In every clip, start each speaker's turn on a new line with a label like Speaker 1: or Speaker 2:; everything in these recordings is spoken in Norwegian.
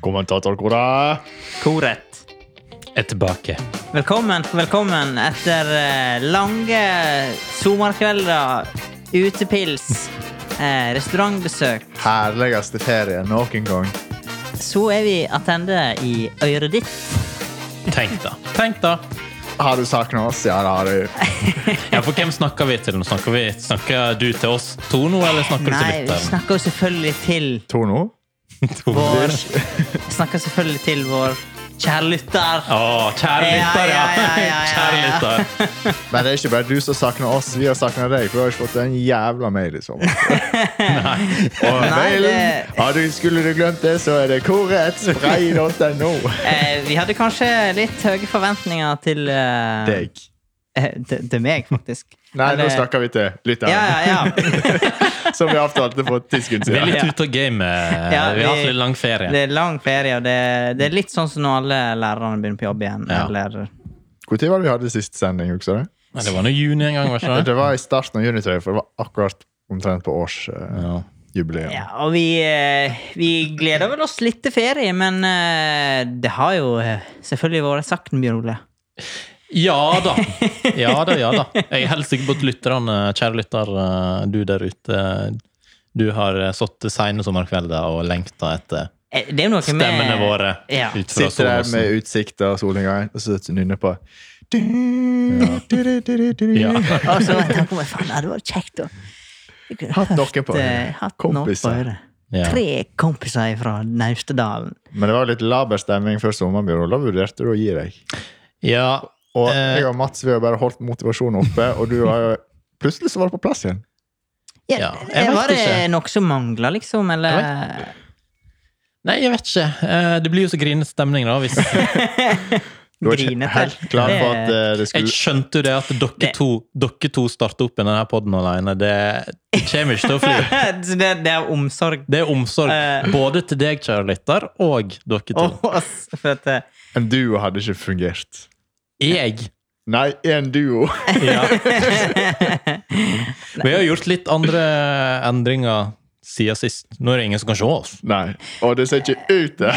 Speaker 1: kommentatorkoret.
Speaker 2: Koret.
Speaker 3: er tilbake.
Speaker 2: Velkommen, velkommen etter eh, lange sommerkvelder, utepils, eh, restaurantbesøk.
Speaker 4: Herligste ferie noen gang.
Speaker 2: Så er vi attende i øret ditt.
Speaker 3: Tenk da. Tenk da.
Speaker 4: Har du savna oss? Ja, det har du.
Speaker 3: Ja, for hvem snakker vi til nå? Snakker, vi, snakker du til oss to nå, eller
Speaker 2: Nei,
Speaker 3: snakker du
Speaker 2: vi
Speaker 3: til lytteren?
Speaker 2: snakker jo selvfølgelig til
Speaker 4: To nå?
Speaker 2: vår Snakker selvfølgelig til vår kjære lytter.
Speaker 3: Å, kjære
Speaker 2: Ja,
Speaker 3: lytter, ja.
Speaker 2: ja, ja, ja, ja.
Speaker 3: Kjære lytter.
Speaker 4: Men det er ikke bare du som savner oss. Vi har savna deg. For du har ikke fått en jævla mail i sommer. Og
Speaker 2: Nei,
Speaker 4: mailen,
Speaker 2: det-
Speaker 4: ja, du, skulle du glemt det, så er det koretspray.no.
Speaker 2: Eh, vi hadde kanskje litt høye forventninger til eh,
Speaker 4: Deg.
Speaker 2: eh, til- til meg, faktisk.
Speaker 4: Nei,
Speaker 2: Men,
Speaker 4: nå
Speaker 2: eh,
Speaker 4: snakker vi til lytteren,
Speaker 2: Ja, ja, ja.
Speaker 4: som vi avtalte for ti sekunder
Speaker 3: Vi er
Speaker 4: siden.
Speaker 3: litt ute av gamet.
Speaker 2: Ja,
Speaker 3: Eh, Vi har
Speaker 2: vi-
Speaker 3: hatt litt lang ferie.
Speaker 2: Det er lang ferie, og det, det er litt sånn som når alle lærerne begynner på jobb igjen.
Speaker 3: Ja.
Speaker 2: Eller,
Speaker 4: Når var det vi hadde siste sending? Også, det?
Speaker 3: Men Det var nå juni en gang, var ikke det?
Speaker 4: det var i starten av juni, tror jeg, for det var akkurat omtrent på eh, årsjubileet.
Speaker 3: Ja.
Speaker 2: ja, og vi, eh, vi gleder vel oss litt til ferie, men eh, det har jo eh, selvfølgelig vært sagt mye, Ole.
Speaker 3: Ja da. Ja da, ja da. Jeg er helt sikker på at lytterne, kjære lytter, eh, du der ute, eh, du har eh, satt sene sommerkvelder og lengta etter
Speaker 2: Eh, Det er jo noe
Speaker 3: stemmene
Speaker 2: med
Speaker 3: våre
Speaker 2: Ja.
Speaker 3: ut fra
Speaker 4: Sitter der
Speaker 3: solåsen.
Speaker 4: med utsikt og solnedgang, og så nynner på du, du, du, du, du, du.
Speaker 3: Ja.
Speaker 2: Og så tenker man faen, det hadde vært kjekt å jeg kunne
Speaker 4: Hatt noen
Speaker 2: hørt,
Speaker 4: på øret.
Speaker 2: eh, hatt noen på
Speaker 4: Kompiser.
Speaker 2: øret.
Speaker 3: Ja.
Speaker 2: Tre kompiser fra Naustedalen.
Speaker 4: Men det var litt laber stemning før sommerbyrå. Da vurderte du å gi deg.
Speaker 3: ja.
Speaker 4: Og
Speaker 3: Eh.
Speaker 4: jeg og Mats vi har bare holdt motivasjonen oppe, og du har jo plutselig så var det på plass igjen.
Speaker 2: Ja,
Speaker 3: Ja, jeg vet
Speaker 2: var det
Speaker 3: ikke.
Speaker 2: noe som mangla, liksom? Eller
Speaker 3: Nei, jeg vet ikke. Eh, Det blir jo så grinete stemning, da. Hvis
Speaker 4: Du var ikke
Speaker 2: Grinete.
Speaker 4: helt klar på at eh, det
Speaker 3: jeg
Speaker 4: skulle
Speaker 3: skjønte jo det at dere
Speaker 2: Det-
Speaker 3: to, dere to starter opp i denne poden alene. Det, det kommer ikke til å fly.
Speaker 2: Så det, det er omsorg
Speaker 3: Det er omsorg
Speaker 2: Eh.
Speaker 3: både til deg, kjære lytter, og dere to.
Speaker 2: og oss. For at, eh,
Speaker 4: En duo hadde ikke fungert.
Speaker 3: Jeg
Speaker 4: Nei, en duo.
Speaker 3: Ja. Vi har gjort litt andre endringer siden sist. Nå er det ingen som kan se oss.
Speaker 4: Nei. Og det ser ikke ut det.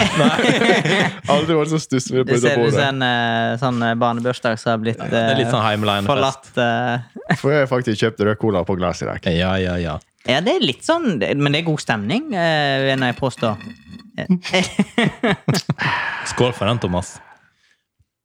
Speaker 4: Aldri vært så stusslig på dette
Speaker 2: Det ser ut som
Speaker 4: bordet.
Speaker 2: en eh, sånn eh, barnebursdag som har blitt
Speaker 3: Det er
Speaker 2: eh,
Speaker 3: litt sånn heimelinefest.
Speaker 2: forlatt. eh.
Speaker 4: For jeg har faktisk kjøpt rød cola på glass i dag.
Speaker 3: Ja, ja, ja.
Speaker 2: Ja, det er litt sånn, det- men det er god stemning, eh, vil jeg påstå.
Speaker 3: Skål for den, Thomas.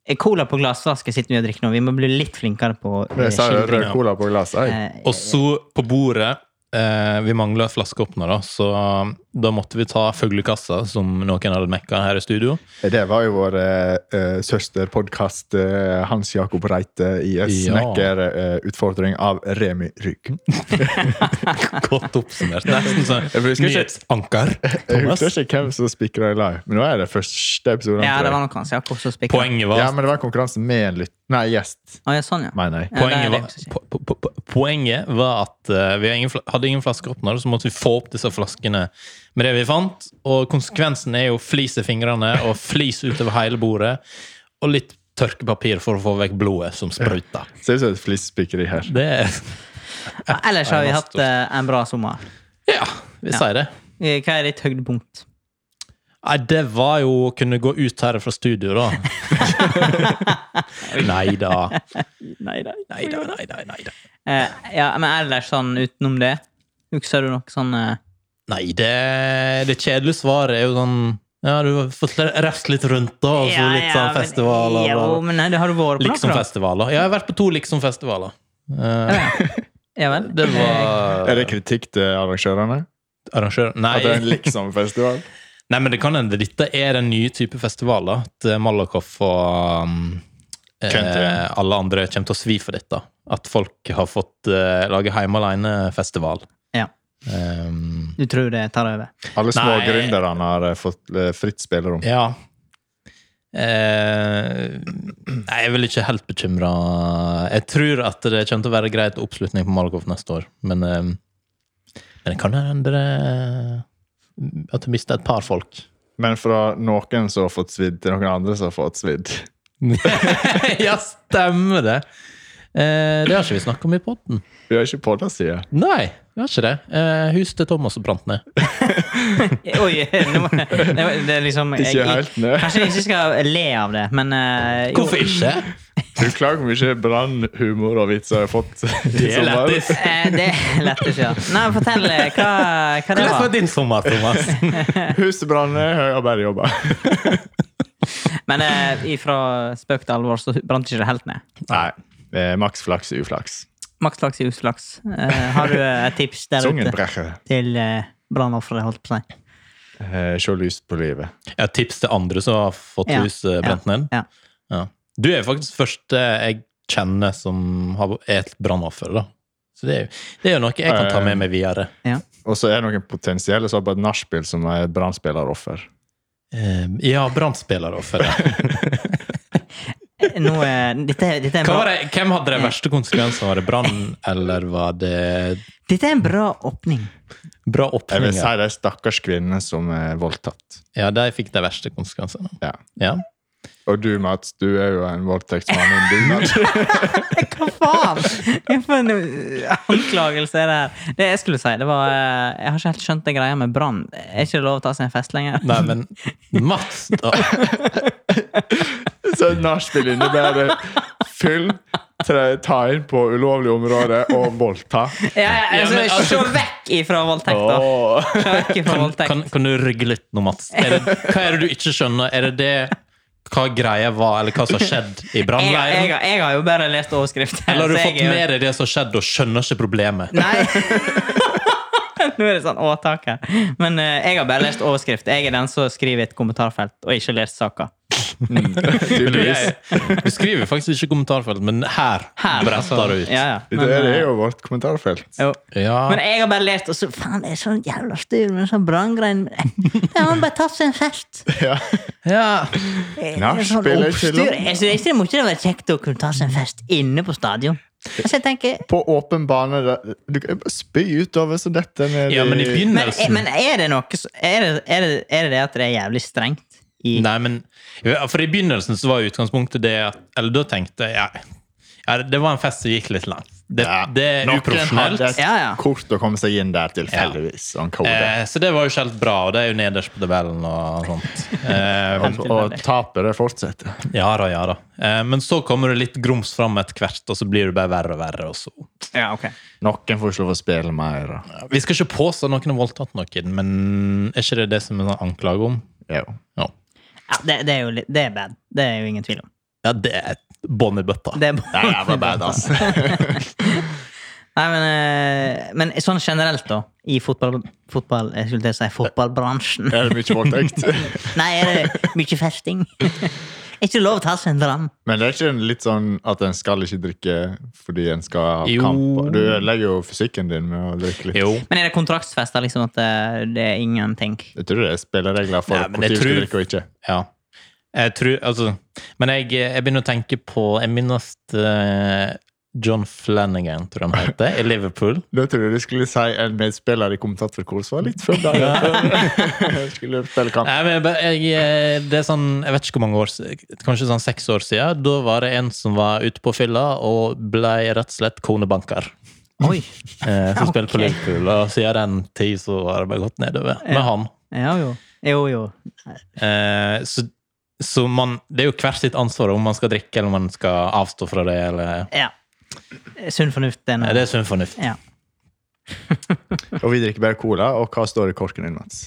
Speaker 2: Eh, Cola på glassflaske sitter vi og drikker nå. Vi må bli litt flinkere på eh,
Speaker 4: Jeg sa jo rød
Speaker 3: skildringer.
Speaker 4: cola på glass. Ei.
Speaker 2: Eh,
Speaker 3: Og så på bordet eh, Vi mangler flaskeåpner, da, så um, da måtte vi ta fuglekassa, som noen hadde mekka her i studio.
Speaker 4: Det var jo vår eh, eh, søsterpodkast eh, Hans Jakob Reite i en
Speaker 3: Ja.
Speaker 4: snekkerutfordring av Remi Rygg.
Speaker 3: Godt oppsummert. Nesten sånn
Speaker 4: Jeg husker ikke-
Speaker 3: nyhetsanker.
Speaker 4: Jeg husker
Speaker 3: Thomas.
Speaker 4: ikke hvem som spikra i lag, men nå er det første episoden.
Speaker 2: ja,
Speaker 4: tror
Speaker 2: det
Speaker 4: jeg.
Speaker 2: var nok kanskje Jakob som spikra.
Speaker 3: Poenget var
Speaker 4: ja, men det var konkurransen med en lytt... Nei, gjest,
Speaker 2: Å, ja, sånn, ja.
Speaker 4: mener jeg.
Speaker 2: Ja, det er det
Speaker 3: Poenget
Speaker 2: jeg
Speaker 3: var,
Speaker 2: skulle si.
Speaker 3: po po po- po poenget var at eh, vi har ingen fla- hadde ingen flaskeåpner, så måtte vi få opp disse flaskene med det vi fant. Og konsekvensen er jo flis i fingrene og flis utover hele bordet. Og litt tørkepapir for å få vekk blodet som spruta.
Speaker 4: Ser ut som et flisspikkeri her.
Speaker 3: Det er
Speaker 2: Ja, Ellers har vi
Speaker 3: Ja,
Speaker 2: hatt eh, en bra sommer.
Speaker 3: Ja, vi
Speaker 2: Ja.
Speaker 3: sier det.
Speaker 2: Eh, Hva er ditt høydepunkt?
Speaker 3: Nei, det var jo å kunne gå ut her fra studio, da. nei da.
Speaker 2: Nei, nei.
Speaker 3: Nei da, nei da, nei da.
Speaker 2: Eh, ja, men ellers sånn utenom det? Husker du noe sånn eh,
Speaker 3: Nei, det, det kjedelige svaret er jo sånn Ja, du har fått refst litt rundt, da, og så
Speaker 2: Ja,
Speaker 3: litt
Speaker 2: ja,
Speaker 3: sånn
Speaker 2: men-
Speaker 3: festivaler. bla, bla, Liksom bla.
Speaker 2: Jo, men nei, det har du vært på noe, da.
Speaker 3: Liksom-festivaler. Ja, jeg har vært på to liksom-festivaler. Eh,
Speaker 2: Ja vel.
Speaker 3: det var
Speaker 4: Er det kritikk til arrangørene?
Speaker 3: arrangør... Nei.
Speaker 4: At det er en liksom-festival?
Speaker 3: Nei, men det kan hende dette er den nye type festivaler. At eh, Malakoff og um,
Speaker 4: Country.
Speaker 3: eh, alle andre kommer til å svi for dette. At folk har fått eh, lage Heime aleine-festival.
Speaker 2: Ja.
Speaker 3: Ehm,
Speaker 2: Du tror det tar over?
Speaker 4: Alle små
Speaker 3: Nei.
Speaker 4: gründerne har eh, fått eh, fritt spillerom.
Speaker 3: ja. Eh, nei, jeg er vel ikke helt bekymra. Jeg tror at det kommer til å være greit oppslutning på Malakoff neste år, men, eh, men det kan hende det- at du mister et par folk.
Speaker 4: Men fra noen som har fått svidd, til noen andre som har fått svidd.
Speaker 3: ja, stemmer det! Eh, det har ikke vi snakka om i potten.
Speaker 4: Vi har ikke podda siden.
Speaker 3: Nei, vi har ikke det. Eh, Huset til Thomas som brant ned.
Speaker 2: Oi, nå må, det var- det er liksom jeg,
Speaker 4: Ikke helt, nei.
Speaker 2: Kanskje jeg ikke skal le av det, men eh, jo.
Speaker 3: Hvorfor ikke?
Speaker 4: Du klager hvor mye brannhumor og vitser jeg har fått i
Speaker 3: Det er
Speaker 4: sommer.
Speaker 3: lættis.
Speaker 2: Eh, det letter ikke. Nei, fortell eh, hva, hva det
Speaker 3: Hvordan var
Speaker 2: var.
Speaker 3: din sommer, Thomas?
Speaker 4: Husbranner, høyarbeiderjobber.
Speaker 2: Men eh, ifra spøk til alvor så brant ikke det helt ned.
Speaker 4: Nei. Det er maks flaks og uflaks.
Speaker 2: Maks flaks i uflaks. Eh, har du eh, et tips der
Speaker 4: Sungen
Speaker 2: ute
Speaker 4: brekker.
Speaker 2: til eh, brannofferet, holdt på å si?
Speaker 4: Eh, Se lyst på livet.
Speaker 3: Jeg har tips til andre som har fått
Speaker 2: Ja,
Speaker 3: hus eh, brent ned.
Speaker 2: ja.
Speaker 3: Ja. Du er faktisk første jeg kjenner som har- er et brannoffer. da. Så det er, jo- det er jo noe jeg kan ta med meg videre.
Speaker 4: Og så er det noen potensielle som har på et nachspiel som er et brannspilleroffer.
Speaker 3: Eh, Ja, brannspilleroffer. ja.
Speaker 2: Nå, eh, dette, dette, er en
Speaker 3: Hva var
Speaker 2: bra,
Speaker 3: det- Hvem hadde de verste konsekvensene? Var det brann, eller var det
Speaker 2: dette er en bra åpning.
Speaker 3: bra
Speaker 4: Jeg vil si
Speaker 3: åpninger?
Speaker 4: de stakkars kvinnene som er voldtatt.
Speaker 3: Ja, de fikk de verste konsekvensene.
Speaker 4: Ja.
Speaker 3: Ja.
Speaker 4: Og du, Mats, du er jo en voldtektsmann i dugnad.
Speaker 2: Hva faen? Hva for en uh, anklagelse er det her? Det jeg skulle si, det var eh, Jeg har ikke helt skjønt det greia med brann. Er ikke det lov å ta seg en fest lenger?
Speaker 3: Nei, men Mats da.
Speaker 4: Så et nachspiel innebærer fyll, tre, ta inn på ulovlig område og voldta.
Speaker 2: Ja, ja,
Speaker 3: Ja,
Speaker 2: altså,
Speaker 3: men altså-
Speaker 2: Se vekk ifra voldtekt, da.
Speaker 4: Åh.
Speaker 2: Se vekk ifra voldtekt.
Speaker 3: Kan, kan du rygge litt nå, Mats? Er det, hva er det du ikke skjønner? Er det det hva greia var, eller hva som har skjedd i
Speaker 2: Jeg, jeg,
Speaker 3: brannleiren?
Speaker 2: jeg, har jo bare lest overskriften.
Speaker 3: Eller har du
Speaker 2: så jeg
Speaker 3: fått
Speaker 2: er jo-
Speaker 3: med deg det som har skjedd, og skjønner ikke problemet?
Speaker 2: Nei. Nå er det sånn å, takk her. Men eh, jeg har bare lest overskrift. Jeg er den som skriver i et kommentarfelt, og ikke lest saka.
Speaker 3: Men Du,
Speaker 4: Tydeligvis.
Speaker 3: jeg, du skriver faktisk ikke i kommentarfelt, men her,
Speaker 2: Her.
Speaker 3: bretter du ut.
Speaker 2: Ja, ja.
Speaker 4: Det er
Speaker 2: eh,
Speaker 4: jo vårt kommentarfelt.
Speaker 2: jo.
Speaker 3: Ja.
Speaker 2: Men jeg har bare lest, og så faen, det er sånn jævla styr med sånn branngrein. Det har han bare tatt seg en fest.
Speaker 4: Ja.
Speaker 3: Ja.
Speaker 2: Det er
Speaker 4: Nachspiel
Speaker 2: sånn
Speaker 4: er ikke
Speaker 2: oppstyr.
Speaker 4: lov.
Speaker 2: Jeg synes det må ikke være kjekt å kunne ta seg en fest inne på stadion. Så jeg tenker,
Speaker 4: På åpen bane der- Du kan jo bare spy utover så dette ned
Speaker 3: ja, men i
Speaker 2: men,
Speaker 3: begynnelsen
Speaker 2: men er det noe så- er det, er, det, er det det at det er jævlig strengt? I,
Speaker 3: Nei, men ja, For i begynnelsen så var utgangspunktet det at Eller da tenkte jeg ja, ja, Det var en fest som gikk litt langt. Det,
Speaker 4: Ja,
Speaker 3: det er
Speaker 4: noen
Speaker 3: uprofesjonelt.
Speaker 4: hadde et
Speaker 2: Ja, ja.
Speaker 4: Kort å komme seg inn der tilfeldigvis. sånn og en kode.
Speaker 3: Eh, så det var jo ikke helt bra, og det er jo nederst på tabellen og sånt. Eh,
Speaker 4: og, og tapere fortsetter.
Speaker 3: ja da, ja da. Eh, men så kommer det litt grums fram etter hvert, og så blir det bare verre og verre. Og så.
Speaker 2: ja, ok.
Speaker 4: Noen får ikke lov å spille mer. og-
Speaker 3: Ja, Vi skal ikke påstå at noen har voldtatt noen, men er ikke det det som er sånn anklage om?
Speaker 4: Jo.
Speaker 3: Ja.
Speaker 2: Ja, det, det er jo litt, det er bad. Det er jo ingen tvil om.
Speaker 3: Ja, det er bånn i bøtta.
Speaker 2: Det er
Speaker 4: Det er jævla bad, ass.
Speaker 2: Nei, men, eh, men sånn generelt, da, i fotball, fotball Jeg skulle til å si fotballbransjen.
Speaker 4: Er det mye voldtekt?
Speaker 2: Nei, er det mye festing? Er ikke lov å ta seg en dram?
Speaker 4: Men det er ikke en litt sånn at en skal ikke drikke fordi en skal ha
Speaker 3: Jo.
Speaker 4: kamp? Du ødelegger jo fysikken din med å drikke litt.
Speaker 3: Jo.
Speaker 2: Men er det kontraktsfester, liksom, at eh, det er ingenting?
Speaker 4: Jeg tror det er spilleregler for
Speaker 3: Nei,
Speaker 4: når du
Speaker 3: men jeg
Speaker 4: skal
Speaker 3: tror-
Speaker 4: drikke og ikke.
Speaker 3: Ja. Jeg tror, altså, men jeg, jeg begynner å tenke på Jeg minnes eh, John Flanagan, tror jeg han heter, i Liverpool.
Speaker 4: Da tror jeg du skulle si en medspiller i kommentatorkor som var litt full da. Jeg skulle spille kamp.
Speaker 3: Nei, men jeg, bare- jeg, eh, det er sånn, jeg vet ikke hvor mange år s- Kanskje sånn seks år siden. Da var det en som var ute på fylla og ble rett og slett konebanker.
Speaker 2: Oi.
Speaker 3: Eh, som spilte på
Speaker 2: Ok.
Speaker 3: Liverpool, og siden den tid så har det bare gått nedover med han.
Speaker 2: Ja, jo. Jo, jo.
Speaker 3: Eh, så så man, det er jo hvert sitt ansvar om man skal drikke eller om man skal avstå fra det. Eller,
Speaker 2: Ja. Sunn fornuft, det er
Speaker 3: Nei,
Speaker 2: noe.
Speaker 3: det er sunn fornuft.
Speaker 2: Ja.
Speaker 4: Og vi drikker bare cola, og hva står i korken din, Mats?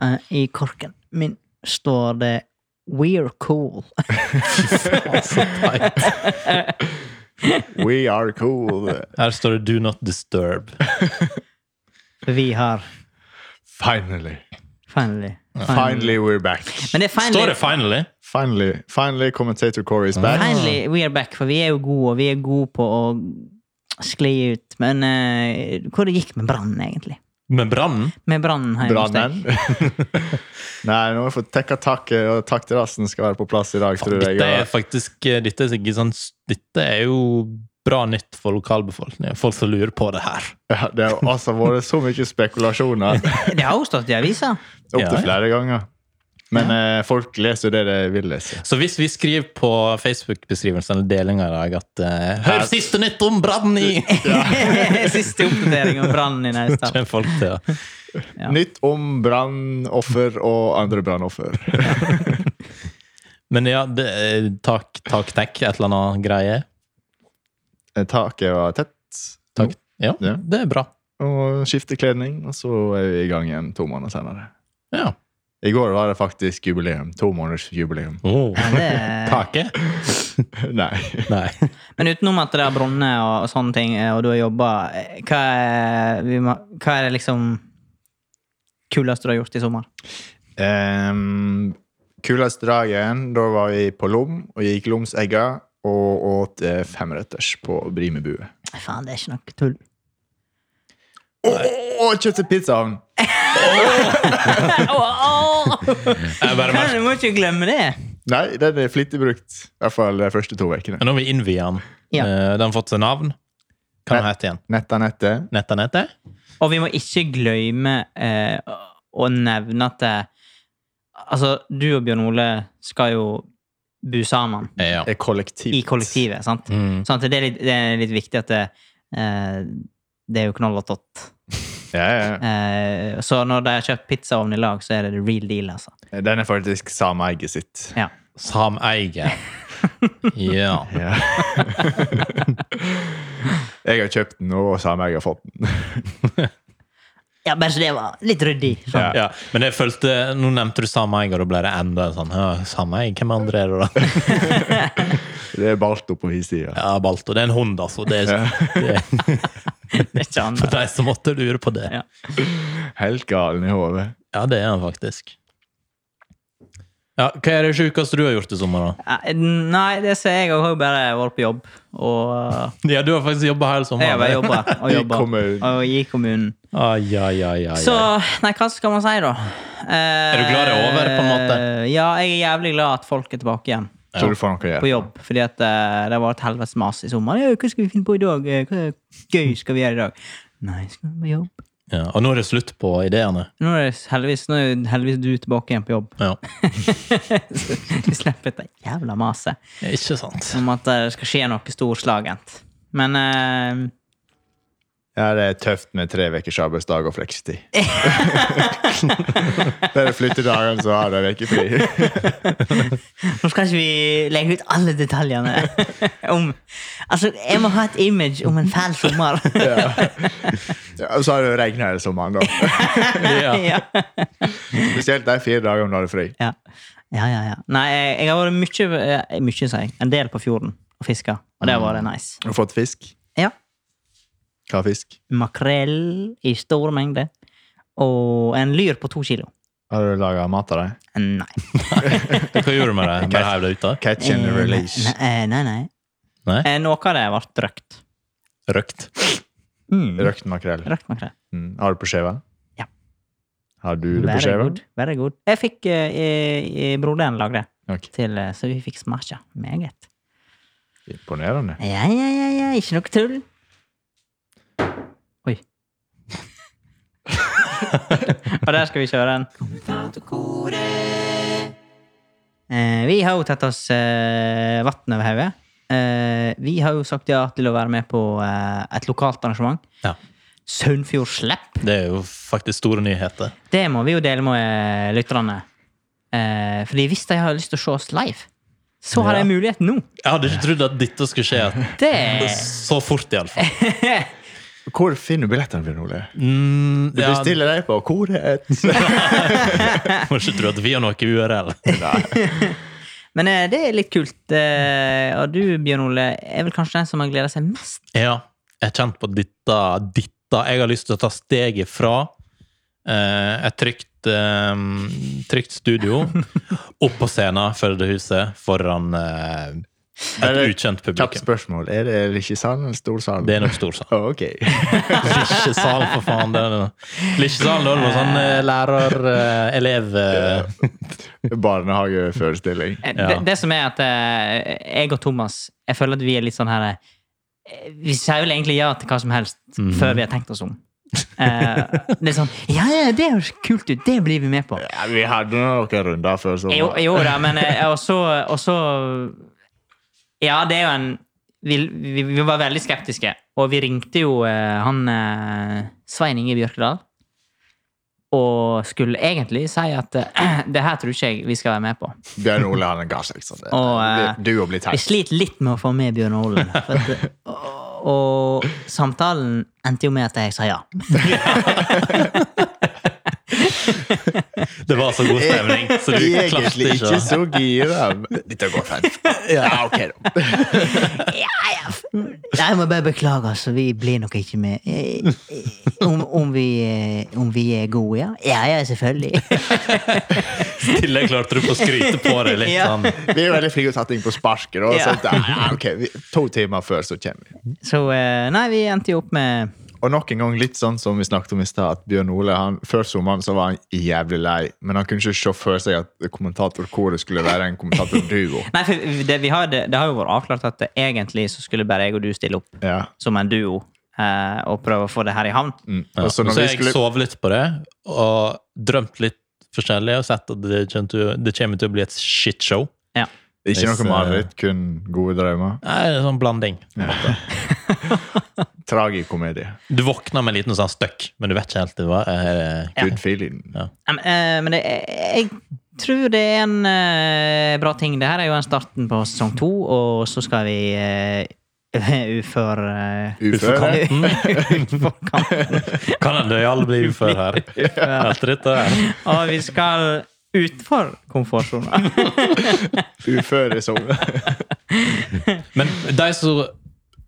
Speaker 2: Eh, I korken min står det We're cool.
Speaker 3: Så teit.
Speaker 4: We are cool.
Speaker 3: Her står det 'Do not disturb'.
Speaker 2: Vi har
Speaker 4: Finally.
Speaker 2: finally
Speaker 4: Finally we're back.
Speaker 2: Men det er finally,
Speaker 3: Står det 'finally'?
Speaker 4: Finally, finally commentator Corey is back.
Speaker 2: Finally, we are back, for vi er jo gode, og vi er gode på å skli ut. Men eh, hvor det gikk med brannen, egentlig?
Speaker 3: Med brannen?
Speaker 2: Med brannen hjemme hos deg.
Speaker 4: Brannen. Nei, nå har vi fått tekka taket, og takterrassen skal være på plass i dag, tror jeg.
Speaker 3: Dette er
Speaker 4: Og
Speaker 3: faktisk dette er, sikkert sånn, dette er jo bra nytt for lokalbefolkningen. Folk som lurer på det her.
Speaker 4: Ja, det har altså vært så mye spekulasjoner
Speaker 2: Det har jo stått i avisa.
Speaker 4: opptil
Speaker 3: Ja, ja.
Speaker 4: flere ganger. Men eh, folk leser jo det de vil lese.
Speaker 3: Så hvis vi skriver på Facebook-beskrivelsen eller delinga i dag at eh, Hør siste nytt om brannen i
Speaker 2: Siste oppdatering om brannen i Naustdal.
Speaker 3: Kommer folk til å
Speaker 2: Ja.
Speaker 4: Nytt om brannoffer og andre brannoffer.
Speaker 3: Men ja, det, eh, tak, tak, tek, et eller annet greie.
Speaker 4: Eh, Taket var tett.
Speaker 3: Tak, ja,
Speaker 4: Ja.
Speaker 3: det er bra.
Speaker 4: Og skifte kledning, og så er vi i gang igjen to måneder senere.
Speaker 3: Ja.
Speaker 4: I går var det faktisk jubileum. To måneders jubileum.
Speaker 3: Oh.
Speaker 2: Det-
Speaker 3: Kake?
Speaker 4: Nei.
Speaker 3: Nei.
Speaker 2: Men utenom at det har brunnet og, og sånne ting, eh, og du har jobba, eh, hva, er- vi må- hva er det liksom kuleste du har gjort i sommer?
Speaker 4: Um, Kuleste dagen, da var vi på Lom og gikk Lomsegga og åt eh, femretters på Brimebue.
Speaker 2: Nei, Faen, det er ikke noe tull.
Speaker 4: Og kjøpte pizzaovn!
Speaker 3: Jeg bare
Speaker 2: Men
Speaker 3: merker.
Speaker 2: du må ikke glemme det!
Speaker 4: Nei, den er flittig brukt. I hvert fall de første to ukene.
Speaker 3: Nå har vi innviet den.
Speaker 2: Ja.
Speaker 3: Eh, Den har fått seg navn. Hva den heter den igjen?
Speaker 4: Netta nettet.
Speaker 3: Nettanettet?
Speaker 2: Og vi må ikke glemme eh, å nevne at eh, Altså, du og Bjørn Ole skal jo bo sammen
Speaker 3: Eh, Ja.
Speaker 4: Er kollektivt.
Speaker 2: i kollektivet, sant?
Speaker 3: Mm.
Speaker 2: Sånn at det er litt, det er litt viktig at det, eh, det er jo knollåtått.
Speaker 4: Ja, ja.
Speaker 2: Eh, så når de har kjøpt pizzaovn i lag, så er det the real deal, altså.
Speaker 4: Den er faktisk sameeiget sitt.
Speaker 2: Ja.
Speaker 3: Sameie. Ja.
Speaker 4: Ja. jeg har kjøpt den, og sameiet har fått den.
Speaker 2: Ja, bare så det var litt ryddig. Sånn.
Speaker 3: ja. Men jeg følte, nå nevnte du sameie, og da ble det enda sånn ja, Sameie? Hvem andre er det, da?
Speaker 4: Det er Balto på hissida.
Speaker 3: Ja, Balto. Det er en hund, altså. Det er,
Speaker 2: Det
Speaker 3: det er
Speaker 2: er ikke
Speaker 3: For
Speaker 2: annet.
Speaker 3: de som måtte lure på det.
Speaker 2: Ja.
Speaker 4: Helt galen i hodet.
Speaker 3: Ja, det er han faktisk. Ja, Hva er det sjukeste du har gjort i sommer, da?
Speaker 2: Eh, Nei, det ser jeg òg. Har jo bare vært på jobb. Og eh,
Speaker 3: Ja, Du har faktisk jobba
Speaker 2: jeg
Speaker 3: hele
Speaker 2: har
Speaker 3: sommeren.
Speaker 2: bare jobba og
Speaker 4: I
Speaker 2: jobba.
Speaker 4: kommunen.
Speaker 2: Og i kommunen.
Speaker 3: Ai, ai, ai, ai,
Speaker 2: Så
Speaker 3: ai.
Speaker 2: Nei, hva skal man si, da? er
Speaker 3: du glad det er over, på en måte?
Speaker 2: Ja, jeg er jævlig glad at folk er tilbake igjen
Speaker 4: Tror du får noe å gjøre.
Speaker 2: på jobb. Fordi at eh, det har vært helvetes mas i sommer. Ja, hva skal vi finne på i dag? Eh, Hva gøy skal vi gjøre i dag? Nei, skal vi på jobb?
Speaker 3: Ja, og nå er det slutt på ideene.
Speaker 2: Nå er det heldigvis, nå er heldigvis du tilbake igjen på jobb.
Speaker 3: Ja,
Speaker 2: Vi slipper dette jævla maset
Speaker 3: Ikke sant.
Speaker 2: om at eh, det skal skje noe storslagent. Men eh,
Speaker 4: Ja, det er tøft med tre ukers arbeidsdag og flekstid. det er de flyttedagene som har de ukefri.
Speaker 2: nå skal ikke vi legge ut alle detaljene om Altså, jeg må ha et image om en fæl sommer.
Speaker 4: ja. Ja, og så har det regna hele sommeren, da.
Speaker 3: Ja.
Speaker 2: ja.
Speaker 4: Spesielt de fire dagene du har fri.
Speaker 2: Ja. ja, ja, ja. Nei, jeg, jeg har vært mye, eh, mye sier jeg, en del på fjorden og fiska, og det har vært nice.
Speaker 4: Har du fått fisk?
Speaker 2: Ja.
Speaker 4: Hva fisk?
Speaker 2: Makrell i stor mengde. Og en lyr på to kilo.
Speaker 4: Har du laga mat av dem?
Speaker 2: Nei.
Speaker 3: Hva gjorde du med det? Bare heiv det ut, da?
Speaker 4: Catch and
Speaker 2: Eh,
Speaker 4: release.
Speaker 2: Nei, nei. nei.
Speaker 3: Nei?
Speaker 2: Eh, Noe av det ble røkt.
Speaker 3: Røkt.
Speaker 4: Røkt makrell.
Speaker 2: Røkt makrell.
Speaker 4: Mm. Har du på skjeva?
Speaker 2: Ja.
Speaker 4: Har du det på
Speaker 2: Very
Speaker 4: skjeva?
Speaker 2: good. Very good. Jeg fikk eh, i- i- Broderen lagde det,
Speaker 4: Ok.
Speaker 2: til, eh, så vi fikk smasha. Meget.
Speaker 4: Imponerende.
Speaker 2: Ja, ja, ja, ja. Ikke noe tull. Oi. Og der skal vi kjøre en. Eh, vi har jo tatt oss eh, vann over hodet. Eh, vi har jo sagt ja til å være med på eh, et lokalt arrangement.
Speaker 3: Ja.
Speaker 2: Sunnfjord Slepp.
Speaker 3: Det er jo faktisk store nyheter.
Speaker 2: Det må vi jo dele med eh, lytterne. Eh, fordi hvis de har lyst til å se oss live, så har
Speaker 3: Ja.
Speaker 2: de muligheten nå.
Speaker 3: Jeg hadde ikke trodd at dette skulle skje
Speaker 2: Det
Speaker 3: så fort, iallfall.
Speaker 4: Hvor finner du billettene, Bjørn Ole?
Speaker 3: Mm,
Speaker 4: Du
Speaker 3: ja,
Speaker 4: bestiller deg på koret.
Speaker 3: må ikke tro at vi har noe URL.
Speaker 2: Men eh, det er litt kult. eh, Og du, Bjørn Ole, er vel kanskje den som har gleda seg mest?
Speaker 3: Ja, jeg har kjent på dette, dette. Jeg har lyst til å ta steget fra eh, et trygt, eh, trygt studio opp på scenen, Førdehuset, foran eh,
Speaker 4: Er
Speaker 3: et
Speaker 4: det
Speaker 3: ukjent
Speaker 4: Kjapt
Speaker 3: publikum.
Speaker 4: spørsmål. Er det Likkjesand eller Storsand?
Speaker 3: Det er nok stor sak.
Speaker 4: Å, ok.
Speaker 3: Likkjesalen, for faen. Det er det. Likkjesalen, da er det noe sånn eh, lærer, eh, elev eh,
Speaker 4: Barnehageforestilling.
Speaker 2: Eh,
Speaker 3: Ja.
Speaker 2: Det, det som er at eh, jeg og Thomas Jeg føler at vi er litt sånn her eh, Vi sier vel egentlig ja til hva som helst før vi har tenkt oss om. Eh, det er sånn Ja, ja, det høres kult ut. Det blir vi med på.
Speaker 4: Ja, vi hadde noen runder før sommeren.
Speaker 2: Jo, jo da, men eh, og så- og så Ja, det er jo en vi, vi, vi var veldig skeptiske, og vi ringte jo eh, han eh, Svein Inge Bjørkedal. Og skulle egentlig si at eh, det her tror ikke jeg vi skal være med på.
Speaker 4: Bjørn Ole han ga seg. Sånn.
Speaker 2: Og, eh,
Speaker 4: Du og blir
Speaker 2: Vi
Speaker 4: teit.
Speaker 2: sliter litt med å få med Bjørn Olen. For at, og, og samtalen endte jo med at jeg sa ja.
Speaker 3: Det var så god stemning, så du klarte
Speaker 4: Egentlig
Speaker 3: ikke
Speaker 4: ikke
Speaker 3: å
Speaker 4: så gira. men Dette går fint.
Speaker 3: Ah,
Speaker 4: Ja, ok, da.
Speaker 2: ja, ja. f- Nei, jeg må bare beklage, altså. Vi blir nok ikke med. Eh, eh, Om, om, vi, eh, om vi er gode, ja? Ja, ja, selvfølgelig.
Speaker 3: I tillegg klarte du å skryte på deg litt
Speaker 2: Ja.
Speaker 3: sånn.
Speaker 4: Vi er jo veldig flinke til å ta ting på sparket. da,
Speaker 2: Ja.
Speaker 4: så det er, ja, ok, vi, to timer før så kommer vi.
Speaker 2: Så eh, nei, vi endte jo opp med
Speaker 4: Og nok en gang litt sånn som vi snakket om i stad, at Bjørn Ole han, før sommeren så var han jævlig lei, men han kunne ikke se for seg at kommentatorkoret skulle være en kommentatorduo.
Speaker 2: Nei, for det, vi har, det, det har jo vært avklart at det, egentlig så skulle bare jeg og du stille opp
Speaker 4: Ja.
Speaker 2: som en duo eh, og prøve å få det her i havn.
Speaker 3: Ja.
Speaker 4: Mm. Og
Speaker 3: Så
Speaker 4: så når
Speaker 3: har
Speaker 4: vi
Speaker 3: jeg
Speaker 4: skulle...
Speaker 3: sovet litt på det, og drømt litt forskjellig, og sett at det kommer til, å- det kommer til å bli et shitshow.
Speaker 2: Ja.
Speaker 4: Ikke noe mareritt, kun gode drømmer.
Speaker 3: Nei, det er en sånn blanding. på en måte.
Speaker 4: Tragikomedie.
Speaker 3: Du våkner med en liten sånn støkk, men du vet ikke helt hva eh, er det.
Speaker 4: Good feeling.
Speaker 2: Ja, Men, eh, men det, jeg tror det er en eh, bra ting. Det her er jo en starten på sesong to, og så skal vi uh, ufør... Uh,
Speaker 4: Uføre.
Speaker 2: Utfor kanten.
Speaker 3: Kan en alle bli ufør her? Etter dette her.
Speaker 2: Og vi skal utfor komfortsona.
Speaker 4: Uføre som
Speaker 3: Men de som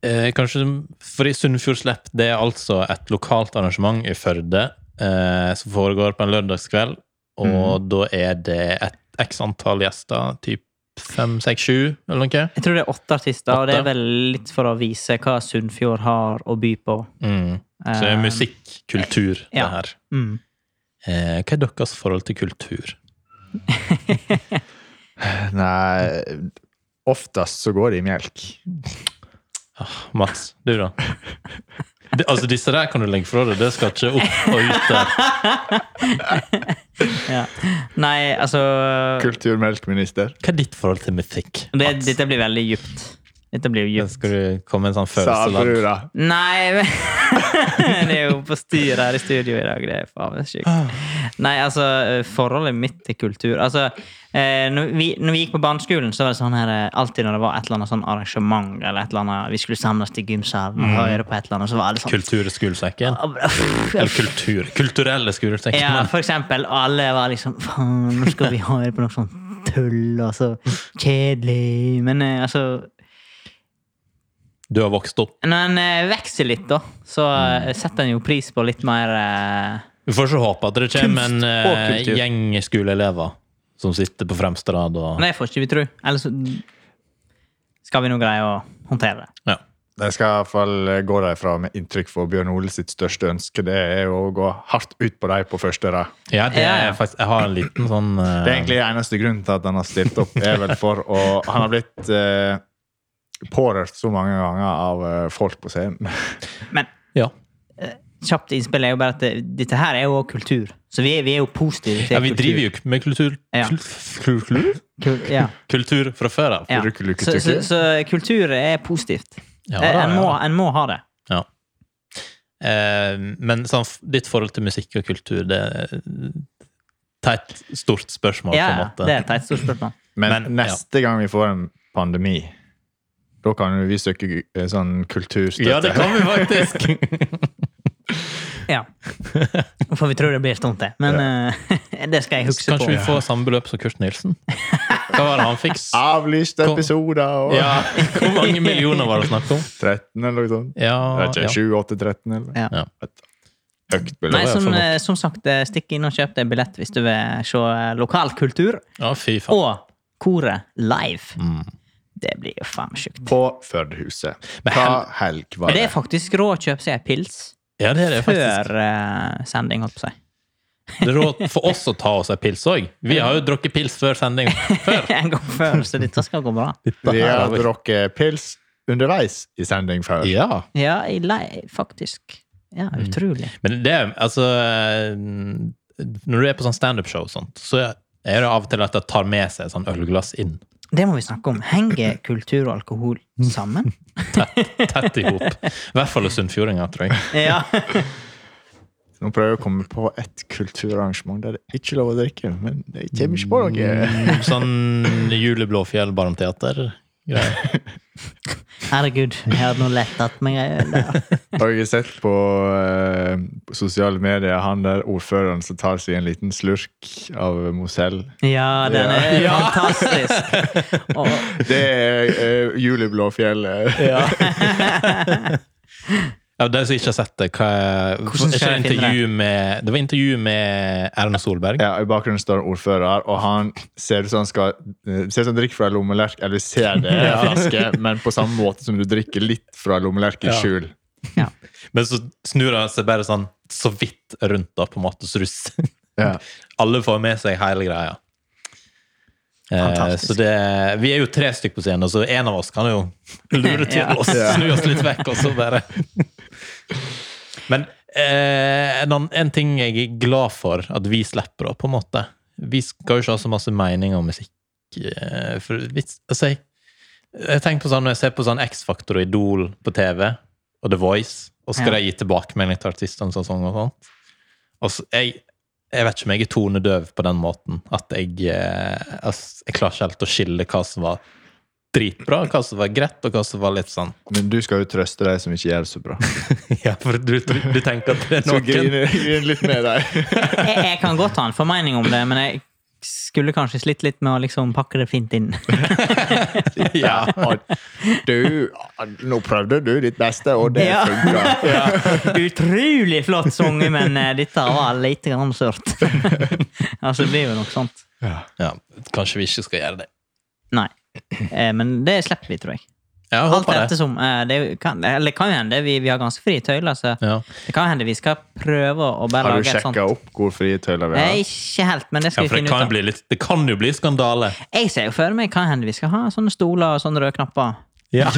Speaker 3: eh, kanskje, fordi Sunnfjordslepp det er altså et lokalt arrangement i Førde eh, som foregår på en lørdagskveld, og
Speaker 2: Mhm.
Speaker 3: da er det et x antall gjester, typ fem, seks, sju, eller noe.
Speaker 2: Jeg tror det er åtte artister, og det
Speaker 3: Åtte.
Speaker 2: er vel litt for å vise hva Sunnfjord har å by på.
Speaker 3: Mm. Så det er musikk, kultur, det
Speaker 2: Eh, ja.
Speaker 3: her.
Speaker 2: Mm.
Speaker 3: Eh, hva er deres forhold til kultur?
Speaker 4: Nei, oftest så går det i melk.
Speaker 3: Mats, du da? Det- altså Disse der kan du legge fra deg. Det skal ikke opp og ut der.
Speaker 2: Ja. Nei, altså
Speaker 4: Kulturmelkminister.
Speaker 3: Hva er ditt forhold til musikk?
Speaker 2: det,
Speaker 3: Mats?
Speaker 2: Dette blir veldig djupt. Dette blir jo
Speaker 3: Da
Speaker 2: djupt.
Speaker 3: skal du komme med en sånn
Speaker 4: Sa
Speaker 3: følelsesladd
Speaker 4: brura.
Speaker 2: Nei men- Det er jo på styr her i studio i dag. Det er faen meg sjukt. Nei, altså, eh, forholdet mitt til kultur Altså, eh, når vi, når vi gikk på barneskolen, så var det sånn her eh, alltid når det var et eller annet sånn arrangement, eller et eller annet vi skulle samles til gymsalen og høre på et eller annet, så var alle sånn
Speaker 3: kulturskulesekken? Eller kultur. Kulturelle skolesekken.
Speaker 2: Ja, for eksempel. Og alle var liksom Faen, nå skal vi høre på noe sånt tull, og så kjedelig Men eh, altså
Speaker 3: Du har vokst opp.
Speaker 2: Når en eh, vokser litt, da, så eh, setter en jo pris på litt mer eh,
Speaker 3: Vi får ikke håpe at det kommer en
Speaker 2: Kunst og
Speaker 3: eh,
Speaker 2: kultur.
Speaker 3: gjeng skoleelever som sitter på fremste rad og
Speaker 2: Det får ikke vi tro. Ellers så skal vi nå greie å håndtere det.
Speaker 3: ja.
Speaker 4: Jeg skal i hvert fall eh, gå derfra med inntrykk for Bjørn Ole sitt største ønske. Det er jo å gå hardt ut på dem på første rad.
Speaker 3: ja, det
Speaker 2: Ja,
Speaker 3: er
Speaker 2: ja.
Speaker 3: faktisk Jeg har en liten sånn eh,
Speaker 4: Det er egentlig eneste grunnen til at han har stilt opp, er vel for å Han har blitt eh, pårørt så mange ganger av eh, folk på scenen.
Speaker 2: Men eh,
Speaker 3: ja.
Speaker 2: kjapt innspill er jo bare at det, dette her er jo også kultur. Så vi er, vi er jo positive til
Speaker 3: ja, vi driver jo med kultur
Speaker 2: Ja.
Speaker 3: kul- kul- kul-
Speaker 2: kultur. Ja.
Speaker 3: Kultur fra før av.
Speaker 2: Ja.
Speaker 4: Rukke, lukke,
Speaker 2: Så, så,
Speaker 4: tukke.
Speaker 2: så kultur er positivt.
Speaker 3: Ja,
Speaker 2: Eh,
Speaker 3: da,
Speaker 2: en,
Speaker 3: ja.
Speaker 2: må, en må ha det.
Speaker 3: Ja. Eh, men sånn, f- ditt forhold til musikk og kultur, det er et stort spørsmål,
Speaker 2: Ja,
Speaker 3: på en
Speaker 2: ja,
Speaker 3: måte.
Speaker 2: det er et teit stort spørsmål.
Speaker 4: Men,
Speaker 3: Men, ja.
Speaker 4: neste gang vi får en pandemi, da kan jo vi søke eh, sånn kulturstøtte.
Speaker 3: ja, det kan vi faktisk!
Speaker 2: Ja. For vi tror det blir en stund til. Men eh, det skal jeg huske
Speaker 3: Kanskje vi
Speaker 2: på.
Speaker 3: får samme beløp som Kurt Nilsen? Hva var det han fikk?
Speaker 4: Avlyste
Speaker 3: Kom.
Speaker 4: episoder og
Speaker 3: Ja, hvor mange millioner var det snakk om?
Speaker 4: 13 eller noe sånt.
Speaker 3: Ja,
Speaker 4: Jeg vet
Speaker 3: ja.
Speaker 4: ikke, 7, 8, 13 eller
Speaker 2: Ja.
Speaker 3: Ja.
Speaker 4: Et Høyt
Speaker 2: Nei,
Speaker 4: beløp.
Speaker 3: så-
Speaker 2: som,
Speaker 3: for nok.
Speaker 2: eh, som sagt, eh, stikk inn og kjøp deg billett hvis du vil se eh, lokal kultur.
Speaker 3: ja fy faen.
Speaker 2: Og koret live.
Speaker 3: Mm.
Speaker 2: Det blir jo faen meg sjukt.
Speaker 4: På Førdehuset.
Speaker 3: Men
Speaker 4: Hva
Speaker 3: hel-
Speaker 4: helg var
Speaker 2: Men det
Speaker 4: det?
Speaker 2: er faktisk råd å kjøpe seg en pils
Speaker 3: Ja, det er det faktisk.
Speaker 2: før eh, sending, holdt på å si.
Speaker 3: Det er råd for oss å ta oss en pils òg. Vi har jo drukket pils før sending. Før.
Speaker 2: en gang før, så dette skal gå bra.
Speaker 4: Vi har
Speaker 3: her
Speaker 4: eh,
Speaker 3: har vi-
Speaker 4: drukket pils underveis i sending før.
Speaker 3: Ja.
Speaker 2: Ja, i lei, faktisk. Ja, utrolig.
Speaker 3: Men det er altså eh, Når du er på sånn standup-show og sånt, så er det av og til at de tar med seg sånn ølglass inn.
Speaker 2: Det må vi snakke om. Henger kultur og alkohol sammen?
Speaker 3: Tett i hop. I hvert fall hos sunnfjordinger, tror jeg.
Speaker 2: Ja.
Speaker 4: Nå prøver jeg å komme på et kulturarrangement der det ikke er lov å drikke. Men jeg kommer ikke på
Speaker 3: Mm.
Speaker 4: noe.
Speaker 3: Sånn juleblåfjell, barmteater. greier.
Speaker 2: Herregud, jeg hadde nå lett tatt meg ei øl. der.
Speaker 4: Har jeg sett på eh, på sosiale medier han der ordføreren som tar seg en liten slurk av Mosell?
Speaker 2: Ja, den er fantastisk. Og,
Speaker 4: Det er eh, juleblåfjell. eh.
Speaker 3: Ja, De som ikke har sett det, hva er,
Speaker 2: Hvordan skal
Speaker 3: er
Speaker 2: jeg
Speaker 3: det,
Speaker 2: finne det?
Speaker 3: intervju med, det var intervju med Erna Solberg.
Speaker 4: Ja, I bakgrunnen står en ordfører, og han ser ut som han skal eh, ser ut som han drikker fra en lommelerke. Eller ser det i en flaske, men på samme måte som du drikker litt fra en lommelerke i
Speaker 3: Ja.
Speaker 4: skjul.
Speaker 2: ja.
Speaker 3: Men så snur han seg bare sånn så vidt rundt, da, på en måte. Så du s-
Speaker 4: Ja.
Speaker 3: Alle får med seg hele greia. Eh,
Speaker 2: Fantastisk.
Speaker 3: så det, vi er jo tre stykker på scenen, så en av oss kan jo lure til
Speaker 2: Ja.
Speaker 3: oss, snu oss litt vekk, og så bare Men eh, en, annen- en ting jeg er glad for at vi slipper, da, på en måte Vi skal jo ikke ha så masse mening om musikk. eh, For hvis, altså, jeg, jeg tenker på sånn, Når jeg ser på sånn X-Factor og Idol på TV, og The Voice, og skal
Speaker 2: Ja.
Speaker 3: de gi tilbakemelding til artistene som sang og sånt og så, jeg, jeg vet ikke om jeg er tonedøv på den måten. At jeg, eh, ass, jeg klarer ikke helt å skille hva som var dritbra, hva som var greit, og hva som var litt sånn
Speaker 4: Men du skal jo trøste de som ikke gjør det så bra.
Speaker 3: Ja, for du, du, du tenker at det er
Speaker 4: Så
Speaker 3: noen
Speaker 4: grine, grine litt med deg.
Speaker 2: Jeg, jeg kan godt ha en formening om det, men jeg skulle kanskje slitt litt med å liksom pakke det fint inn.
Speaker 3: ja.
Speaker 4: Du, nå prøvde du ditt beste, og det
Speaker 2: Ja.
Speaker 4: funka.
Speaker 2: Utrolig flott sunget, men eh, dette var lite grann sørt. altså, det blir jo noe sånt.
Speaker 3: ja. Kanskje vi ikke skal gjøre det.
Speaker 2: Nei. Eh, Men det slipper vi, tror jeg.
Speaker 3: Ja, jeg
Speaker 2: Alt
Speaker 3: håper det.
Speaker 2: ettersom. eh, Det kan, eller kan jo hende. Vi, vi har ganske frie tøyler, så
Speaker 3: Ja.
Speaker 2: det kan hende vi skal prøve å bare
Speaker 4: Har du
Speaker 2: lage et sånt.
Speaker 4: sjekka opp hvor frie tøyler vi
Speaker 2: Nei,
Speaker 4: har?
Speaker 2: ikke helt, men det
Speaker 3: Ja,
Speaker 2: skal
Speaker 3: for
Speaker 2: vi
Speaker 3: det
Speaker 2: finne ut
Speaker 3: kan, jo
Speaker 2: av.
Speaker 3: bli litt, det kan jo bli skandale.
Speaker 2: Jeg ser jo for meg kan hende vi skal ha sånne stoler og sånne røde knapper.
Speaker 3: Ja.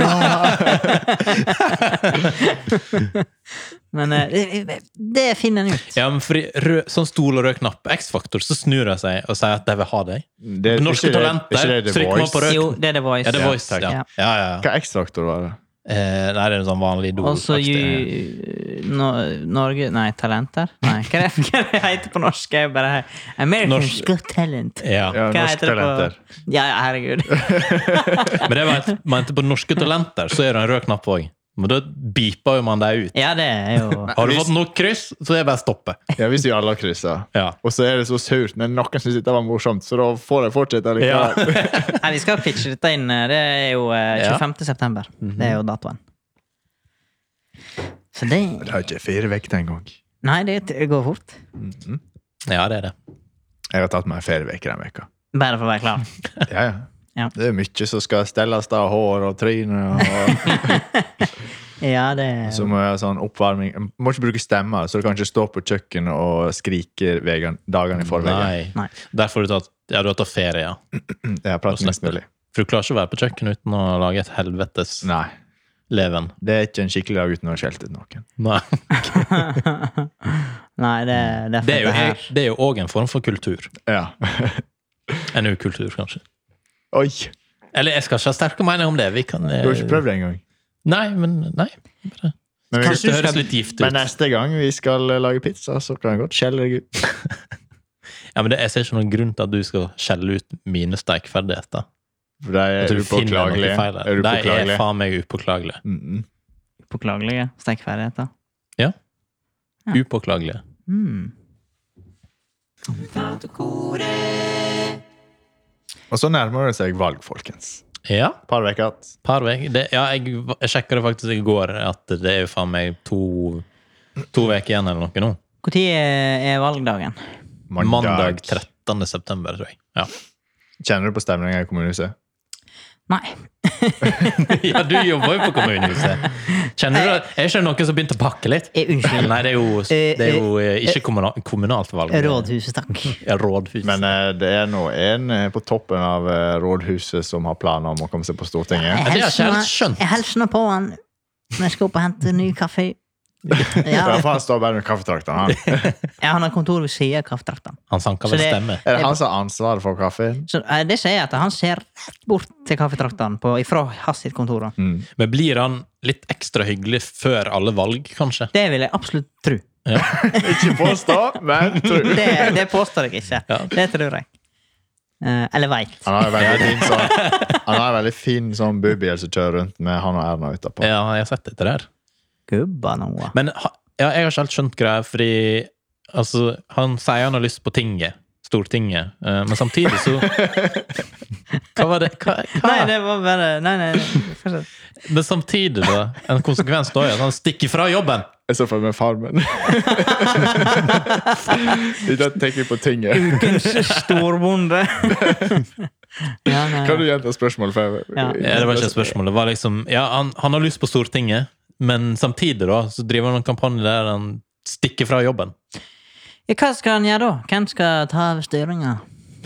Speaker 2: Men eh, det, det finner en ut.
Speaker 3: men for i rød, sånn stol og rød knapp, X-faktor, så snur de seg og sier at de vil ha deg.
Speaker 4: Det er
Speaker 3: Norske
Speaker 4: ikke det-
Speaker 3: talenter,
Speaker 4: ikke det The
Speaker 3: trykker man
Speaker 4: Voice?
Speaker 3: på rød-
Speaker 2: Jo, det er The Voice.
Speaker 3: Ja, det er Voice,
Speaker 2: Ja.
Speaker 3: ja. ja, ja.
Speaker 4: Hva X-faktor var det?
Speaker 3: Eh, nei, det er en sånn vanlig idol.
Speaker 2: Og så ju- no, Norge Nei, Talenter? Nei, hva er det hva er det heter på norsk? Jeg bare, American
Speaker 3: Norsk-
Speaker 2: Got Talent.
Speaker 3: ja.
Speaker 4: Ja,
Speaker 2: Hva
Speaker 4: Norske
Speaker 2: heter det på
Speaker 4: talenter.
Speaker 2: Ja, ja, herregud.
Speaker 3: Men det var et- mente på norske talenter, så er det en rød knapp òg. Men da beeper jo man deg ut.
Speaker 2: Ja, det er jo
Speaker 3: Har du fått nok kryss, så er det bare å stoppe.
Speaker 4: Ja, hvis vi alle har kryssa.
Speaker 3: Ja.
Speaker 4: Og så er det så surt, men noen syns dette var morsomt, så da får de fortsette
Speaker 3: Ja.
Speaker 4: likevel.
Speaker 2: Nei, vi skal pitche dette inn. eh, Det er jo eh,
Speaker 3: Ja.
Speaker 2: 25. september. Det er jo datoen. Så det
Speaker 4: Det er ikke fire uker engang.
Speaker 2: Nei, det t- går fort.
Speaker 3: ja, det er det.
Speaker 4: Jeg har tatt meg fire uker den veka.
Speaker 2: Bare for å være klar.
Speaker 4: Ja, ja.
Speaker 2: Ja.
Speaker 4: Det er mye som skal stelles av hår og tryne, og
Speaker 2: Ja, det
Speaker 3: Altså-
Speaker 4: så må jeg ha sånn oppvarming. Jeg må ikke bruke stemmer, så du kan ikke stå på kjøkkenet og skrike vegan- dagene i forveien.
Speaker 3: Nei.
Speaker 2: Nei.
Speaker 3: Derfor har du tatt, ja, du har tatt ferie, ja.
Speaker 4: Jeg har pratet minst mulig.
Speaker 3: For du klarer ikke å være på kjøkkenet uten å lage et helvetes
Speaker 4: Nei.
Speaker 3: leven.
Speaker 4: Det er ikke en skikkelig dag uten å ha skjelt ut noen.
Speaker 3: Nei.
Speaker 2: Nei, det er derfor
Speaker 3: Det er jo-
Speaker 2: dette her.
Speaker 3: det er jo òg en form for kultur.
Speaker 4: Ja.
Speaker 3: En ukultur, kanskje.
Speaker 4: Oi!
Speaker 3: Eller jeg skal ikke ha sterke meninger om det. Vi kan, eh,
Speaker 4: Du har ikke prøvd det engang.
Speaker 3: Nei, men nei.
Speaker 4: Men,
Speaker 3: Det
Speaker 4: vi,
Speaker 3: høres litt giftig
Speaker 4: men
Speaker 3: ut.
Speaker 4: neste gang vi skal eh, lage pizza, så kan jeg godt skjelle deg ut.
Speaker 3: Ja, men det, jeg ser ikke noen grunn til at du skal skjelle ut mine stekeferdigheter.
Speaker 4: For de
Speaker 3: At
Speaker 4: er
Speaker 3: du finner noe
Speaker 4: upåklagelige.
Speaker 3: feil
Speaker 4: Er
Speaker 3: der.
Speaker 4: du
Speaker 3: De er
Speaker 4: påklagelig?
Speaker 3: faen meg upåklagelige.
Speaker 4: Mm, mm.
Speaker 2: Påklagelige stekeferdigheter. Ja.
Speaker 3: Upåklagelige.
Speaker 2: Mm.
Speaker 4: Og så nærmer det seg valg, folkens.
Speaker 3: Ja,
Speaker 4: Par uker igjen.
Speaker 3: par vek. Det, ja, jeg, jeg sjekka det faktisk i går, at det er jo faen meg to To uker igjen eller noe nå.
Speaker 2: Når er valgdagen?
Speaker 3: Mandag, 13. september, tror jeg. Ja,
Speaker 4: Kjenner du på stemninga i kommunehuset?
Speaker 2: Nei.
Speaker 3: ja du jobber jo på kommunehuset. Kjenner du det? Er ikke det noen som begynte å pakke litt?
Speaker 2: Eh, Unnskyld.
Speaker 3: Nei, det er jo, det er jo eh, ikke kommunal, kommunalt valg.
Speaker 2: Rådhuset, takk.
Speaker 3: Ja, rådhus.
Speaker 4: Men eh, det er nå en eh, på toppen av eh, rådhuset som har planer om å komme seg på Stortinget.
Speaker 3: det har jeg ikke helt skjønt.
Speaker 2: Jeg hilser nå på han når jeg skal opp og hente ny kaffe.
Speaker 4: Ja,
Speaker 2: Ja,
Speaker 4: for han står bare med kaffetrakteren. Han.
Speaker 2: ja han har kontor ved siden av kraftdraktene.
Speaker 3: Han sanka
Speaker 2: Så
Speaker 3: vel
Speaker 2: det-
Speaker 3: stemme.
Speaker 4: Er det han som har ansvaret for kaffen?
Speaker 2: Så eh, det sier at han ser rett bort til kaffetraktene på- ifra hans sitt kontor. da.
Speaker 4: Mm.
Speaker 3: Men blir han litt ekstra hyggelig før alle valg, kanskje?
Speaker 2: Det vil jeg absolutt tro.
Speaker 3: Ja.
Speaker 4: Ikke påstå, men tro.
Speaker 2: Det, det påstår jeg ikke.
Speaker 3: Ja.
Speaker 2: Det tror jeg. Eh, eller veit.
Speaker 4: Han har en veldig fin sånn Han har en veldig fin sånn bobil som kjører rundt med han og Erna utapå.
Speaker 3: ja, jeg har sett dette der.
Speaker 2: Gubba noe.
Speaker 3: Men ha- ja, jeg har ikke helt skjønt greia, fordi altså, han sier han har lyst på tinget. Stortinget. eh, Men samtidig så Hva var det? Hva, hva?
Speaker 2: Nei, det var bare Nei, nei. nei. fortsett.
Speaker 3: Men samtidig, da. En konsekvens da er at han stikker fra jobben.
Speaker 4: Jeg så for meg Farmen. Da tenker jeg på tinget.
Speaker 2: Ukens storbonde. ja, nei.
Speaker 4: Kan du gjenta spørsmålet? For jeg,
Speaker 2: Ja.
Speaker 3: Ja, det var ikke spørsmålet. Det var liksom, ja, han, han har lyst på Stortinget, men samtidig da, så driver han en kampanje der han stikker fra jobben.
Speaker 2: Ja, hva skal han gjøre da? Hvem skal ta over styringa?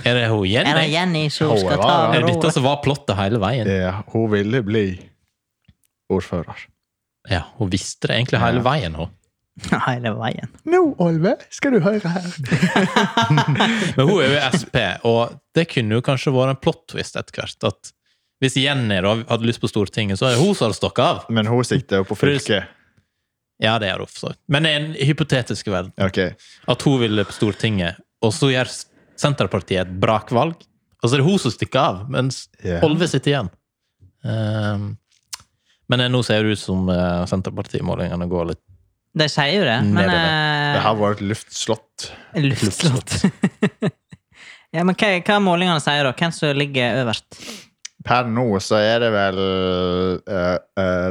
Speaker 3: Er det hun
Speaker 2: Er det
Speaker 3: Jenny?
Speaker 2: Jenny som
Speaker 4: Håvard,
Speaker 2: skal ta
Speaker 4: da.
Speaker 3: Er
Speaker 2: over
Speaker 3: det dette
Speaker 2: roret?
Speaker 3: som var plottet hele veien?
Speaker 4: Ja, hun ville bli ordfører.
Speaker 3: Ja, hun visste det egentlig hele
Speaker 4: Ja.
Speaker 3: veien, hun.
Speaker 2: Hele veien.
Speaker 4: Nå, Olve, skal du høre her.
Speaker 3: Men hun er jo SP, og det kunne jo kanskje vært en plot twist etter hvert. At hvis Jenny da hadde lyst på Stortinget, så er det hun som hadde stokket av.
Speaker 4: Men hun sikter jo på fylket.
Speaker 3: Ja, det er det for så vidt. Men i en hypotetisk verden.
Speaker 4: Ok.
Speaker 3: At hun ville på Stortinget, og så gjør Senterpartiet et brakvalg. Og så er det hun som stikker av, mens
Speaker 4: Ja.
Speaker 3: Olve sitter igjen. Ehm, men eh, nå ser det ut som eh, Senterpartimålingene går litt
Speaker 2: De sier jo det, men
Speaker 3: Nedover.
Speaker 2: eh,
Speaker 4: Det her var et luftslott.
Speaker 2: Luftslott. ja, men hva, hva målingene sier da? Hvem som ligger øverst?
Speaker 4: Per nå så er det vel uh,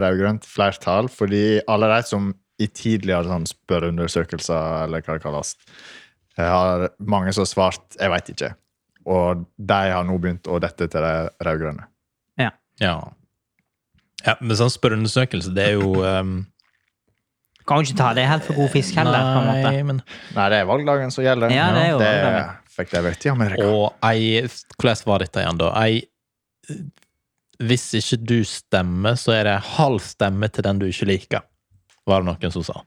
Speaker 4: rød-grønt flertall, fordi alle de som i tidligere sånn spørreundersøkelser, eller hva det kalles, eh, har mange som har svart 'jeg veit ikke', og de har nå begynt å dette til de rød-grønne.
Speaker 3: Ja. ja men sånn spørreundersøkelse, det er jo ehm,
Speaker 2: Kan jo ikke ta det helt for god fisk heller, på en måte.
Speaker 3: Nei, men
Speaker 4: Nei, det er valgdagen som gjelder.
Speaker 2: Ja, det er jo valgdagen.
Speaker 4: det fikk de vite i Amerika.
Speaker 3: Og ei Hvordan var dette igjen, da? Ei Hvis ikke du stemmer, så er det en halv stemme til den du ikke liker, var det noen som sa.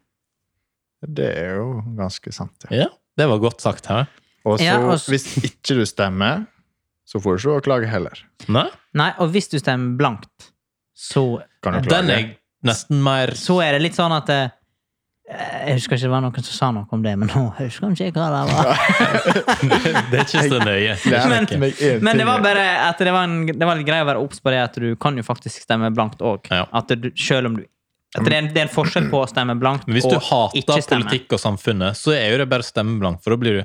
Speaker 4: Det er jo ganske sant. Ja.
Speaker 3: Ja, det var godt sagt, hæ?
Speaker 4: Og så,
Speaker 2: Ja, og s-
Speaker 4: hvis ikke du stemmer, så får du ikke å klage heller.
Speaker 3: Nei?
Speaker 2: Nei, og hvis du stemmer blankt, så,
Speaker 4: Kan du
Speaker 3: Den
Speaker 4: klage?
Speaker 3: er nesten mer
Speaker 2: så er det litt sånn at eh, Jeg husker ikke det var noen som sa noe om det, men nå husker jeg ikke hva det var.
Speaker 3: Det er ikke så nøye. Det er
Speaker 4: Lærte
Speaker 3: ikke.
Speaker 4: meg en
Speaker 2: Men det
Speaker 4: ting.
Speaker 2: var bare at det var, en, det var litt grei å være obs på det at du kan jo faktisk stemme blankt òg.
Speaker 3: Ja.
Speaker 2: At du, selv om du at det, er en, det er en forskjell på å stemme blankt
Speaker 3: Men hvis du
Speaker 2: og ikke
Speaker 3: hater
Speaker 2: stemme.
Speaker 3: politikk og samfunnet, så er jo det bare stemmeblank, for da blir du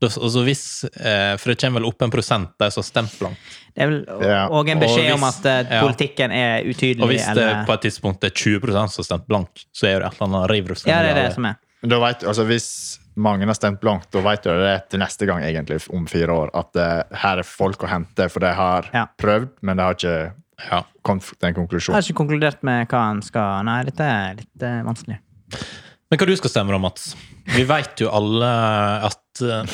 Speaker 3: da- altså hvis, eh, For det kommer vel opp en prosent der som har stemt blankt.
Speaker 2: Det er vel
Speaker 4: Ja,
Speaker 2: òg en beskjed
Speaker 3: og
Speaker 2: om
Speaker 3: hvis-
Speaker 2: at eh,
Speaker 3: ja.
Speaker 2: politikken er utydelig.
Speaker 3: Og hvis eh, det
Speaker 2: eller,
Speaker 3: på et tidspunkt er 20 som har stemt blank, så er det et eller annet rivrus.
Speaker 2: ja, det er det som er.
Speaker 4: Da vet, altså hvis mange har stemt blankt, da vet du det til neste gang, egentlig, om fire år, at eh, her er folk å hente, for de har
Speaker 2: Ja.
Speaker 4: prøvd, men de har ikke
Speaker 3: Ja.
Speaker 4: kommet til en
Speaker 2: Jeg
Speaker 4: konklusjon.
Speaker 2: har ikke konkludert med hva han skal Nei, dette er litt eh, vanskelig.
Speaker 3: Men hva du skal stemme da, Mats? Vi vet jo alle at eh,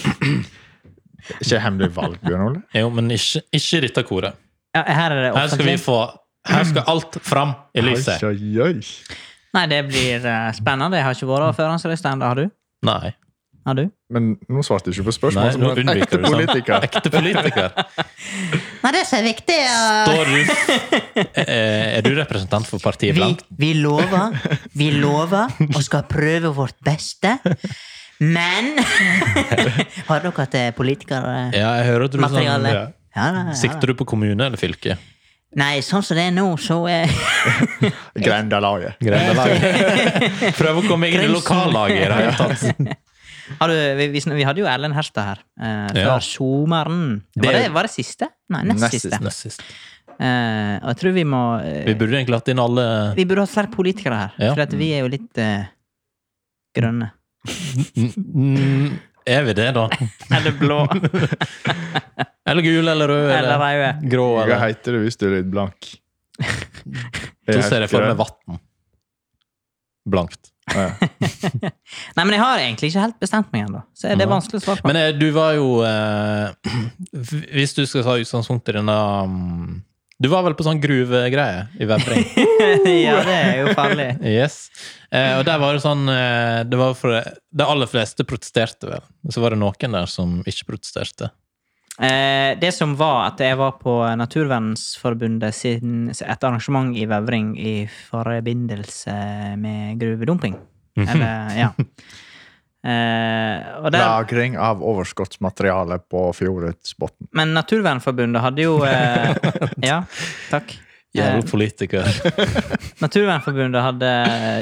Speaker 4: Ikke hemmelig valg, Bjørn Ole.
Speaker 3: Jo, men ikke, ikke i dette koret.
Speaker 2: Ja, her er det
Speaker 3: Her skal vi
Speaker 2: offentlig.
Speaker 3: få Her skal alt fram i lyset.
Speaker 4: Oi, oi, oi.
Speaker 2: Nei, det blir eh, spennende. Jeg har ikke vært der før. Hans Øystein. Det har du?
Speaker 3: Nei.
Speaker 2: Har du?
Speaker 4: Men nå svarte du ikke på
Speaker 3: Nei,
Speaker 4: spørsmålet
Speaker 3: nå
Speaker 4: som en
Speaker 3: unnviker
Speaker 4: ekte
Speaker 3: du sånn.
Speaker 4: politiker.
Speaker 3: Ekte politiker.
Speaker 2: Nei, det som er viktig
Speaker 3: Står du Eh, Er du representant for partiet
Speaker 1: vi,
Speaker 3: Blankt?
Speaker 1: vi lover, vi lover og skal prøve vårt beste. Men Har dere hatt eh, politikere
Speaker 3: Ja, jeg hører at du sånn
Speaker 1: Materiale.
Speaker 3: ja.
Speaker 1: Ja, da, ja, da.
Speaker 3: Sikter du på kommune eller fylke?
Speaker 1: Nei, sånn som det er nå, så er
Speaker 4: Grendalaget.
Speaker 3: Prøv å komme inn i lokallaget i det hele tatt.
Speaker 2: Har du, vi, vi, sn- vi hadde jo Erlend Herstad her eh, før
Speaker 3: Ja.
Speaker 2: sommeren. Var det,
Speaker 3: Det-
Speaker 2: var det siste? Nei, nest,
Speaker 4: Nest
Speaker 2: siste.
Speaker 4: siste.
Speaker 3: Nest sist.
Speaker 2: Eh, og jeg tror vi må eh,
Speaker 3: Vi burde egentlig hatt inn alle
Speaker 2: Vi burde hatt flere politikere her,
Speaker 3: Ja.
Speaker 2: for at vi er jo litt eh, grønne.
Speaker 3: Mm, Er vi det, da?
Speaker 2: Eller blå.
Speaker 3: Eller gul eller rød?
Speaker 2: Eller
Speaker 3: Eller
Speaker 2: røde.
Speaker 3: grå?
Speaker 4: Hva
Speaker 3: Eller.
Speaker 4: heter det hvis du er litt blank?
Speaker 3: Så ser jeg for meg vann. Blankt.
Speaker 4: vann.
Speaker 2: Nei, men jeg har egentlig ikke helt bestemt meg ennå, så det er
Speaker 3: Nei.
Speaker 2: vanskelig å svare på.
Speaker 3: Men eh, du var jo eh, Hvis du skal ta utgangspunkt i denne um, Du var vel på sånn gruvegreie i Vevring?
Speaker 2: ja, det er jo farlig.
Speaker 3: Yes. Eh, og der var det sånn eh, det var for, De aller fleste protesterte vel. Og så var det noen der som ikke protesterte.
Speaker 2: Eh, det som var at jeg var på Naturvernforbundet sin, et arrangement i Vevring i forbindelse med gruvedumping. Eller, ja. Eh, og der,
Speaker 4: Lagring av overskottsmateriale på fjordets bunn.
Speaker 2: men Naturvernforbundet hadde jo eh, Ja, takk. Eh,
Speaker 3: Jævla politiker.
Speaker 2: Naturvernforbundet hadde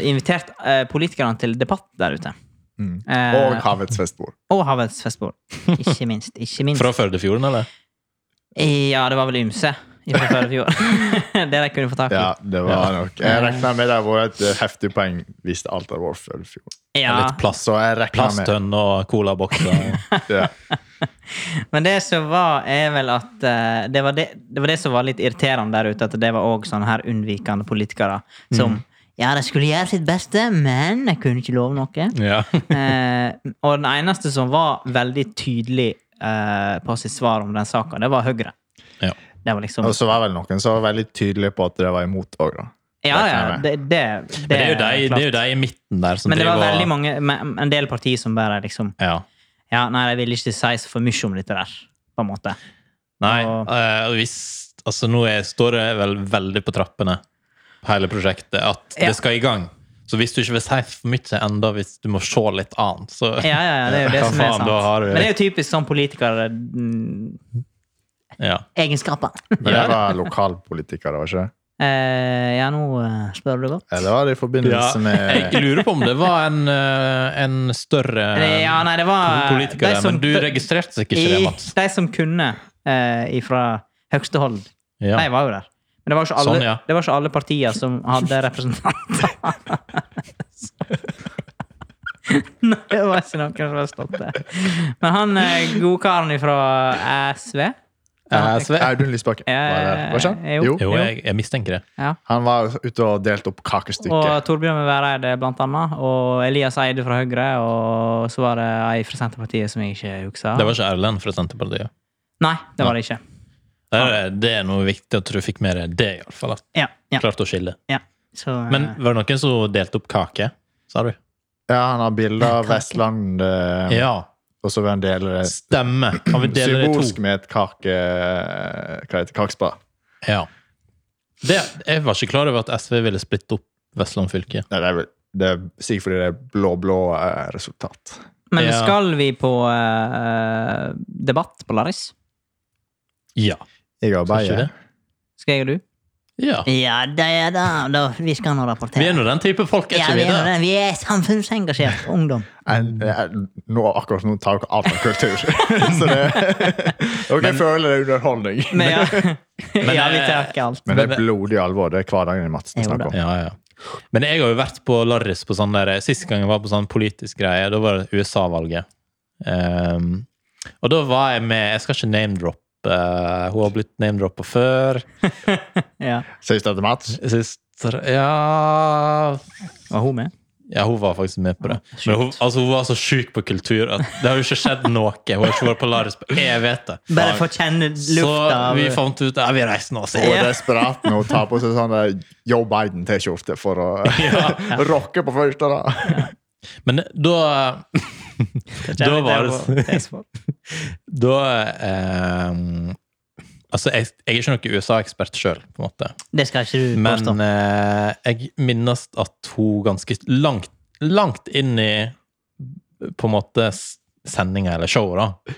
Speaker 2: invitert eh, politikerne til debatt der ute.
Speaker 4: Mm.
Speaker 2: Eh,
Speaker 4: Og havets festbord.
Speaker 2: og havets festbord. Ikke minst. Ikke minst.
Speaker 3: Fra Førdefjorden, eller?
Speaker 2: Ja, det var vel ymse fra før i fjor. det de kunne få tak i.
Speaker 4: Ja, det var nok. Jeg regna med det var et eh, heftig poeng hvis det alt hadde vært før i fjor.
Speaker 2: Ja,
Speaker 3: Litt plast,
Speaker 4: Så jeg regna med
Speaker 3: plasttønne og colabokser.
Speaker 4: ja.
Speaker 2: Men det som var, er vel at eh, det, var det, det var det som var litt irriterende der ute, at det var òg sånne her unnvikende politikere som
Speaker 3: Mm.
Speaker 1: Ja, de skulle gjøre sitt beste, men jeg kunne ikke love noe.
Speaker 3: ja.
Speaker 2: Eh, og den eneste som var veldig tydelig eh, på sitt svar om den saka, det var Høyre.
Speaker 3: Ja. Altså,
Speaker 2: Det var liksom
Speaker 4: Og så var vel noen som var veldig tydelige på at det var imot òg, da.
Speaker 2: Ja, ja,
Speaker 4: regner jeg med.
Speaker 2: det, det,
Speaker 3: Men det er jo
Speaker 2: er
Speaker 3: de,
Speaker 2: klart.
Speaker 3: det er jo de i midten der som
Speaker 2: Men det var
Speaker 3: driver
Speaker 2: veldig
Speaker 3: og
Speaker 2: mange, men- en del partier som bare liksom
Speaker 3: ja.
Speaker 2: Ja, nei, de ville ikke si så for mye om dette der, på en måte.
Speaker 3: Nei,
Speaker 2: Og-
Speaker 3: eh, hvis Altså, nå er, står det vel veldig på trappene, hele prosjektet, at
Speaker 2: Ja.
Speaker 3: det skal i gang. Så hvis du ikke vil si for mye enda, hvis du må se litt annet, så
Speaker 2: Ja, ja, ja, det er jo det
Speaker 3: Hva
Speaker 2: som er
Speaker 3: faen,
Speaker 2: sant.
Speaker 3: da har du-
Speaker 2: Men det er jo typisk sånn politikere mm,
Speaker 3: ja.
Speaker 1: Egenskaper.
Speaker 4: Men
Speaker 3: Ja.
Speaker 4: det var lokalpolitikere, var det ikke?
Speaker 2: eh, Ja, nå eh, spør du godt.
Speaker 4: Eller var det i forbindelse med
Speaker 3: Jeg lurer på om det var en, eh, en større
Speaker 2: Det- Eh, Ja, nei, det var
Speaker 3: politiker,
Speaker 2: de
Speaker 3: der,
Speaker 2: som-
Speaker 3: men du registrerte sikkert ikke det, Mats.
Speaker 2: De som kunne eh, fra høgste hold,
Speaker 3: Ja.
Speaker 2: de var jo der. Men det var, ikke alle,
Speaker 3: Sånn, ja.
Speaker 2: det var ikke alle partier som hadde representanter. Nei, det var ikke noen som var stolte. Men han eh, godkaren fra SV
Speaker 3: Eh, Sve-
Speaker 4: Audun Lysbakken?
Speaker 2: Ja,
Speaker 4: Var det var ikke
Speaker 2: eh,
Speaker 4: han?
Speaker 2: jo.
Speaker 4: Jo.
Speaker 3: Jo, jeg, jeg mistenker det.
Speaker 4: Han var ute og delte opp kakestykket.
Speaker 2: Og Torbjørn Væreide, blant annet. Og Elias Eide fra Høyre. Og så var det ei fra Senterpartiet som jeg ikke husker.
Speaker 3: Det var ikke Erlend fra Senterpartiet.
Speaker 2: Nei, det var det ikke.
Speaker 3: Det er, det er noe viktig at du fikk med deg det, iallfall.
Speaker 2: Ja, ja,
Speaker 3: Klarte å skille.
Speaker 2: ja. Så, eh,
Speaker 3: Men var det noen som delte opp kake, sa du?
Speaker 4: Ja, han har bilder av
Speaker 1: Kake.
Speaker 4: Vestland, eh,
Speaker 3: Ja.
Speaker 4: og så vil han dele det
Speaker 3: Stemme. Kan vi dele det i
Speaker 4: Eh, symbolsk
Speaker 3: to?
Speaker 4: med et kake... eh, Hva heter det? kakespa?
Speaker 3: Ja. Det, jeg var ikke klar over at SV ville splitte opp Vestland fylke.
Speaker 4: Nei, det er, vel- det er sikkert fordi det er blå-blå eh, resultat.
Speaker 2: men
Speaker 3: ja.
Speaker 2: skal vi på eh, debatt på Laris?
Speaker 3: Ja.
Speaker 4: Jeg
Speaker 3: Skal ikke
Speaker 4: arbeider.
Speaker 3: det?
Speaker 2: Skal jeg og du?
Speaker 3: Ja.
Speaker 1: Ja, det er det. Da, vi skal nå
Speaker 3: Vi
Speaker 1: rapportere.
Speaker 3: er nå den type folk, er
Speaker 1: Ja,
Speaker 3: ikke
Speaker 1: vi
Speaker 3: vi?
Speaker 1: er, nå
Speaker 3: det?
Speaker 1: det. vi er samfunnsengasjert ungdom.
Speaker 4: Jeg- jeg- eh, Nå, akkurat nå tar dere alt av kultur. så det Dere føler det er underholdning.
Speaker 2: Men, ja. ja, vi
Speaker 3: eh,
Speaker 2: tar ikke alt.
Speaker 4: Men det er blodig alvor. Det er hverdagen i Madsen
Speaker 1: Jo da.
Speaker 4: snakker om.
Speaker 3: Ja, ja. Men jeg har jo vært på Larris på sånn der Sist gang jeg var på sånn politisk greie, da var det USA-valget. Ehm, og da var jeg med Jeg skal ikke name-droppe. eh, hun har blitt name-droppa før.
Speaker 2: Ja.
Speaker 4: Sies det til Mats?
Speaker 3: Søster Ja
Speaker 2: Var hun med?
Speaker 3: Ja, hun var faktisk med på det. Men hun, altså, hun var så sjuk på kultur at det har jo ikke skjedd noe. Hun har ikke vært på Larris på Jeg vet det.
Speaker 1: Bare få kjenne
Speaker 3: Så
Speaker 1: lufta av
Speaker 3: vi fant ut Ja, vi reiser nå, så.
Speaker 4: Hun er desperat nå og tar på seg sånn eh, Joe Biden-T-skjorte for å rocke på første rad.
Speaker 3: Men da Da var det Da eh, Altså, jeg, jeg er ikke noen USA-ekspert sjøl, på en måte.
Speaker 1: Det skal ikke du påstå.
Speaker 3: Men eh, jeg minnes at hun ganske langt, langt inn i på en måte s- sendinga eller showet, da.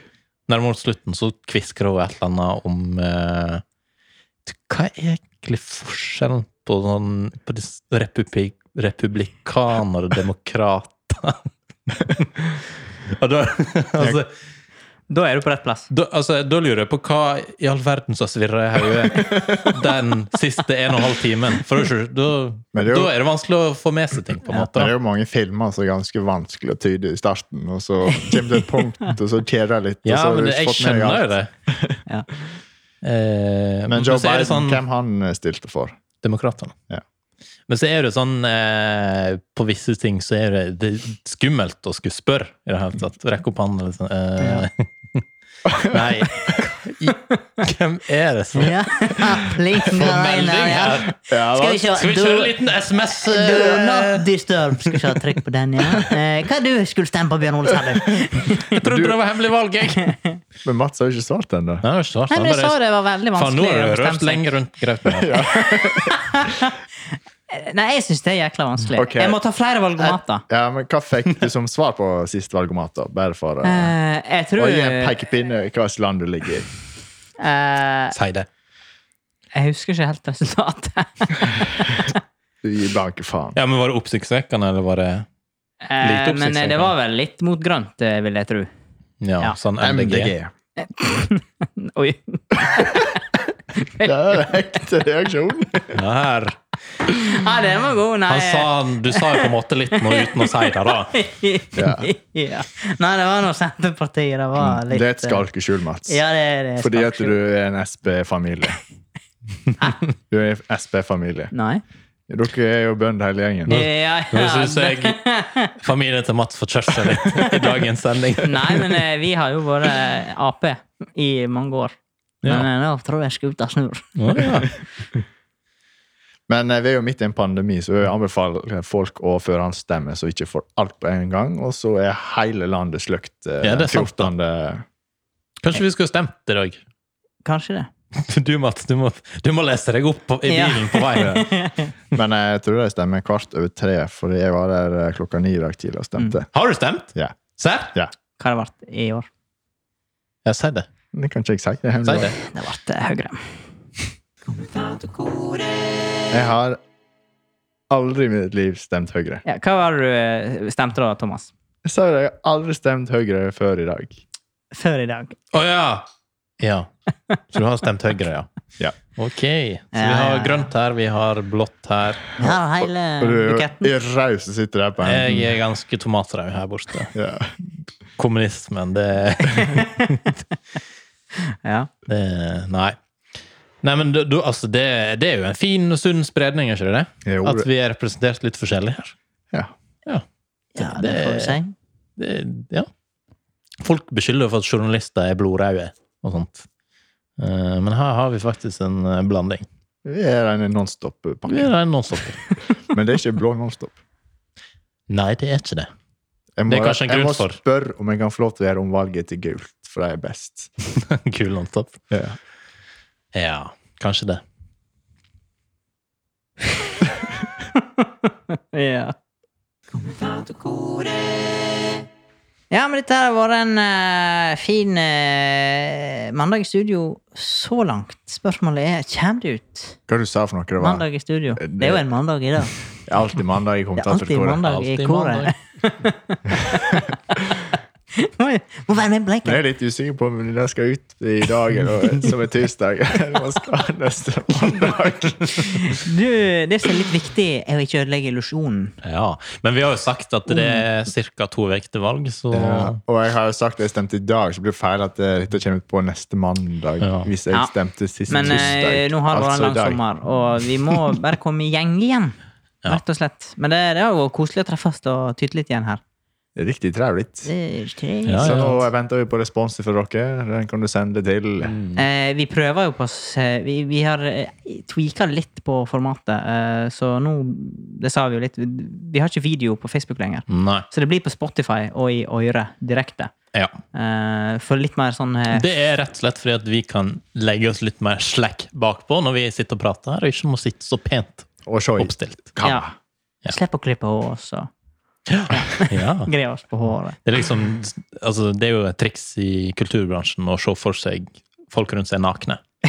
Speaker 3: Nærmere mot slutten så kvisker hun et eller annet om eh, t- Hva er egentlig forskjellen på, sånn, på dis- republi republikanere og demokrater? og da, altså,
Speaker 2: Da er du på rett plass.
Speaker 3: da, altså, da lurer jeg på hva i all verden som svirrer i hodet den siste en og en halv timen. For da, da,
Speaker 4: Men det er jo-
Speaker 3: da er det vanskelig å få med seg ting, på en måte.
Speaker 4: Det er
Speaker 3: da.
Speaker 4: jo mange filmer som er ganske vanskelig å tyde i starten, og så kommer det et punkt, og så kjeder jeg litt. og
Speaker 3: Ja,
Speaker 4: så har du
Speaker 3: men det,
Speaker 4: ikke
Speaker 3: jeg
Speaker 4: fått med deg
Speaker 3: skjønner jo
Speaker 4: alt.
Speaker 3: det.
Speaker 2: Ja.
Speaker 3: Eh,
Speaker 4: Men Joe
Speaker 3: så er
Speaker 4: Biden,
Speaker 3: det sånn
Speaker 4: hvem han eh, stilte for?
Speaker 3: Demokratene.
Speaker 4: Ja.
Speaker 3: Men så er det sånn eh, På visse ting så er det, det er skummelt å skulle spørre i det hele tatt. Rekke opp hånden eller sånn. Eh, liksom. nei, Hvem er det som
Speaker 1: Ja, plikten
Speaker 3: får
Speaker 1: er
Speaker 3: melding
Speaker 1: rein, ja.
Speaker 3: her?
Speaker 4: Ja,
Speaker 1: Skal vi
Speaker 4: hva?
Speaker 1: se
Speaker 3: Skal vi
Speaker 1: du-
Speaker 3: kjøre eh, en liten SMS?
Speaker 1: Do not disturb. Skal ikke ha trykk på den, ja. Eh, hva du skulle stemme på, Bjørn Ole, sa du?
Speaker 3: Jeg trodde det var hemmelig valg, jeg. Nei,
Speaker 4: Men Mats har jo ikke svart ennå.
Speaker 3: det var ikke svart.
Speaker 2: Nei, men jeg
Speaker 3: Bare-
Speaker 2: sa det var veldig
Speaker 3: Faen, nå
Speaker 2: vanskelig å
Speaker 3: har du rørt
Speaker 2: bestemme seg.
Speaker 3: lenge rundt grøten.
Speaker 2: Eh, Nei, jeg syns det er jækla vanskelig.
Speaker 4: Ok.
Speaker 2: Jeg må ta flere
Speaker 3: Eh,
Speaker 2: valgomater.
Speaker 4: Ja, men hva fikk du som svar på sist valgomat, da? Bare for eh,
Speaker 2: Eh, jeg tror
Speaker 4: å gi en pekepinne i hvilket land du ligger i.
Speaker 2: eh,
Speaker 3: Si det.
Speaker 2: Jeg husker ikke helt resultatet.
Speaker 4: Du gir blanke faen.
Speaker 3: Ja, men Var det oppsiktsvekkende, eller var det
Speaker 2: Eh,
Speaker 3: Lite
Speaker 2: men
Speaker 3: oppsiktsvekkende.
Speaker 2: det var vel litt mot grønt, eh, vil jeg tro.
Speaker 3: ja,
Speaker 2: Ja.
Speaker 3: sånn MDG?
Speaker 4: MDG.
Speaker 2: Oi.
Speaker 4: Det er en ekte reaksjon.
Speaker 3: Her.
Speaker 2: Ja, den var god. Nei,
Speaker 3: Han sa, du sa jo på en måte litt nå uten å si det, da.
Speaker 4: Ja. Mm.
Speaker 2: ja. Nei det var noe Senterpartiet. Det var
Speaker 4: Det
Speaker 2: litt eh,
Speaker 4: er et skalkeskjul, Mats.
Speaker 2: Ja, det er det. er
Speaker 4: Fordi at
Speaker 2: skalkeskjul.
Speaker 4: du er en SB-familie. Du er en SB-familie.
Speaker 2: Nei.
Speaker 4: Dere er jo bønder hele gjengen.
Speaker 3: Nå-
Speaker 2: Ja,
Speaker 3: Nå
Speaker 2: ja.
Speaker 3: syns jeg familien til Mats får kjørt seg litt i dagens sending.
Speaker 2: Nei, men eh, vi har jo vært Ap i mange år.
Speaker 3: Ja.
Speaker 2: Men eh, nå tror jeg skuta snur.
Speaker 3: Å, ja.
Speaker 4: Men eh, vi er jo midt i en pandemi, så jeg anbefaler folk å førhåndsstemme, så ikke får alt på en gang. Og så er hele landet sløkt eh,
Speaker 3: Ja, det er sant,
Speaker 4: 14.
Speaker 3: Kanskje vi skulle stemt i dag?
Speaker 2: Kanskje det.
Speaker 3: Du, Mats, du må, du må lese deg opp på, i
Speaker 2: Ja.
Speaker 3: bilen på vei.
Speaker 4: Men jeg tror de stemmer kvart over tre, for jeg var der eh, klokka ni i dag tidlig og stemte.
Speaker 3: Har du stemt?
Speaker 4: Ja.
Speaker 3: Serr?
Speaker 2: Hva har det vært i år?
Speaker 3: Ja, si det.
Speaker 4: Det kan ikke jeg si. Det er
Speaker 3: Si
Speaker 4: hemmelig.
Speaker 3: det.
Speaker 2: Det ble eh, Høyre.
Speaker 4: Jeg har aldri i mitt liv stemt Høyre.
Speaker 2: Ja, hva var det du eh, stemte da, Thomas?
Speaker 4: Jeg sa jo det, jeg har aldri stemt Høyre før i dag.
Speaker 2: Før i dag.
Speaker 3: Å ja. ja! Så du har stemt Høyre, ja?
Speaker 4: Ja.
Speaker 3: Ok. Så
Speaker 2: Ja,
Speaker 3: vi
Speaker 2: ja,
Speaker 3: har
Speaker 2: ja.
Speaker 3: grønt her, vi har blått her.
Speaker 2: Ja, hele
Speaker 4: Og du er jo
Speaker 2: buketten.
Speaker 4: i raus som sitter der på
Speaker 3: Jeg
Speaker 4: enden.
Speaker 3: er ganske tomatrød her borte.
Speaker 4: Ja.
Speaker 3: Kommunismen, det,
Speaker 2: Ja.
Speaker 3: det Nei. Nei, men du, du, altså, det, det er jo en fin og sunn spredning, er ikke det? det?
Speaker 4: Jo,
Speaker 3: At
Speaker 4: det-
Speaker 3: vi er representert litt forskjellig her.
Speaker 4: Ja.
Speaker 3: Ja.
Speaker 2: ja, det får vi si.
Speaker 3: Det, ja. Folk beskylder for at journalister er blodraude og sånt. Eh, Men her har vi faktisk en eh, blanding.
Speaker 4: Vi er en
Speaker 3: Vi
Speaker 4: nonstop-pakke.
Speaker 3: er en nonstop.
Speaker 4: Men det er ikke blå nonstop.
Speaker 3: Nei, det er ikke det.
Speaker 4: Jeg må,
Speaker 3: Det er kanskje en
Speaker 4: jeg må
Speaker 3: grunn for.
Speaker 4: spørre om jeg kan få lov til å gjøre om valget til gult, for det er best.
Speaker 3: Kul nonstop. Ja, kanskje det.
Speaker 2: Ja. Ja, men dette her har vært en eh, fin eh, mandag i studio så langt. Spørsmålet er kommer det ut
Speaker 4: Hva du sa for noe det var?
Speaker 2: mandag i studio?
Speaker 4: Eh,
Speaker 2: Det er jo en mandag i dag.
Speaker 4: Det er Alltid mandag i
Speaker 2: Det er alltid
Speaker 4: kommentatorkoret.
Speaker 2: mandag i
Speaker 3: Alltid mandag.
Speaker 2: koret. Oi, Må være med i
Speaker 4: Men
Speaker 2: bleiken.
Speaker 4: jeg er litt usikker på om det skal ut i dag, eller som er tirsdag. Eller hva skal ha neste mandag?
Speaker 2: Du, det som er litt viktig, er å ikke ødelegge illusjonen.
Speaker 3: Ja, Men vi har jo sagt at det
Speaker 2: Mm.
Speaker 3: er ca. to uker til valg, så
Speaker 4: Ja, og jeg har jo sagt at jeg stemte i dag, så blir det feil at eh, dette kommer ut på neste mandag.
Speaker 3: Ja.
Speaker 4: Hvis jeg
Speaker 2: Ja.
Speaker 4: stemte sist
Speaker 2: Men
Speaker 4: tirsdag.
Speaker 2: eh, nå har det vært
Speaker 4: altså
Speaker 2: en
Speaker 4: i
Speaker 2: lang
Speaker 4: dag.
Speaker 2: sommer, og vi må bare komme i gjeng igjen.
Speaker 3: Ja.
Speaker 2: Rett og slett. Men det, det er jo koselig å treffes og tyte litt igjen her.
Speaker 4: Det er Riktig trevlig.
Speaker 2: Det er tre-
Speaker 3: Ja,
Speaker 4: Så
Speaker 3: ja.
Speaker 4: nå venter vi på responser fra dere. Den kan du sende til
Speaker 3: Mm.
Speaker 2: Eh, vi prøver jo på s- eh, Vi, vi har eh, tweaka litt på formatet, eh, så nå Det sa vi jo litt. Vi har ikke video på Facebook lenger.
Speaker 3: Nei.
Speaker 2: Så det blir på Spotify og i øret direkte.
Speaker 3: Ja.
Speaker 2: Eh, for litt mer sånn eh,
Speaker 3: Det er rett og slett fordi at vi kan legge oss litt mer slack bakpå når vi sitter og prater her, og ikke må sitte så pent
Speaker 4: og Sjoj.
Speaker 3: oppstilt.
Speaker 2: ja.
Speaker 3: Ja.
Speaker 2: Slipp å klippe hår oss og
Speaker 3: Ja.
Speaker 2: gre oss på håret.
Speaker 3: Det, er liksom, altså, det er jo et triks i kulturbransjen å se for seg folk rundt seg nakne.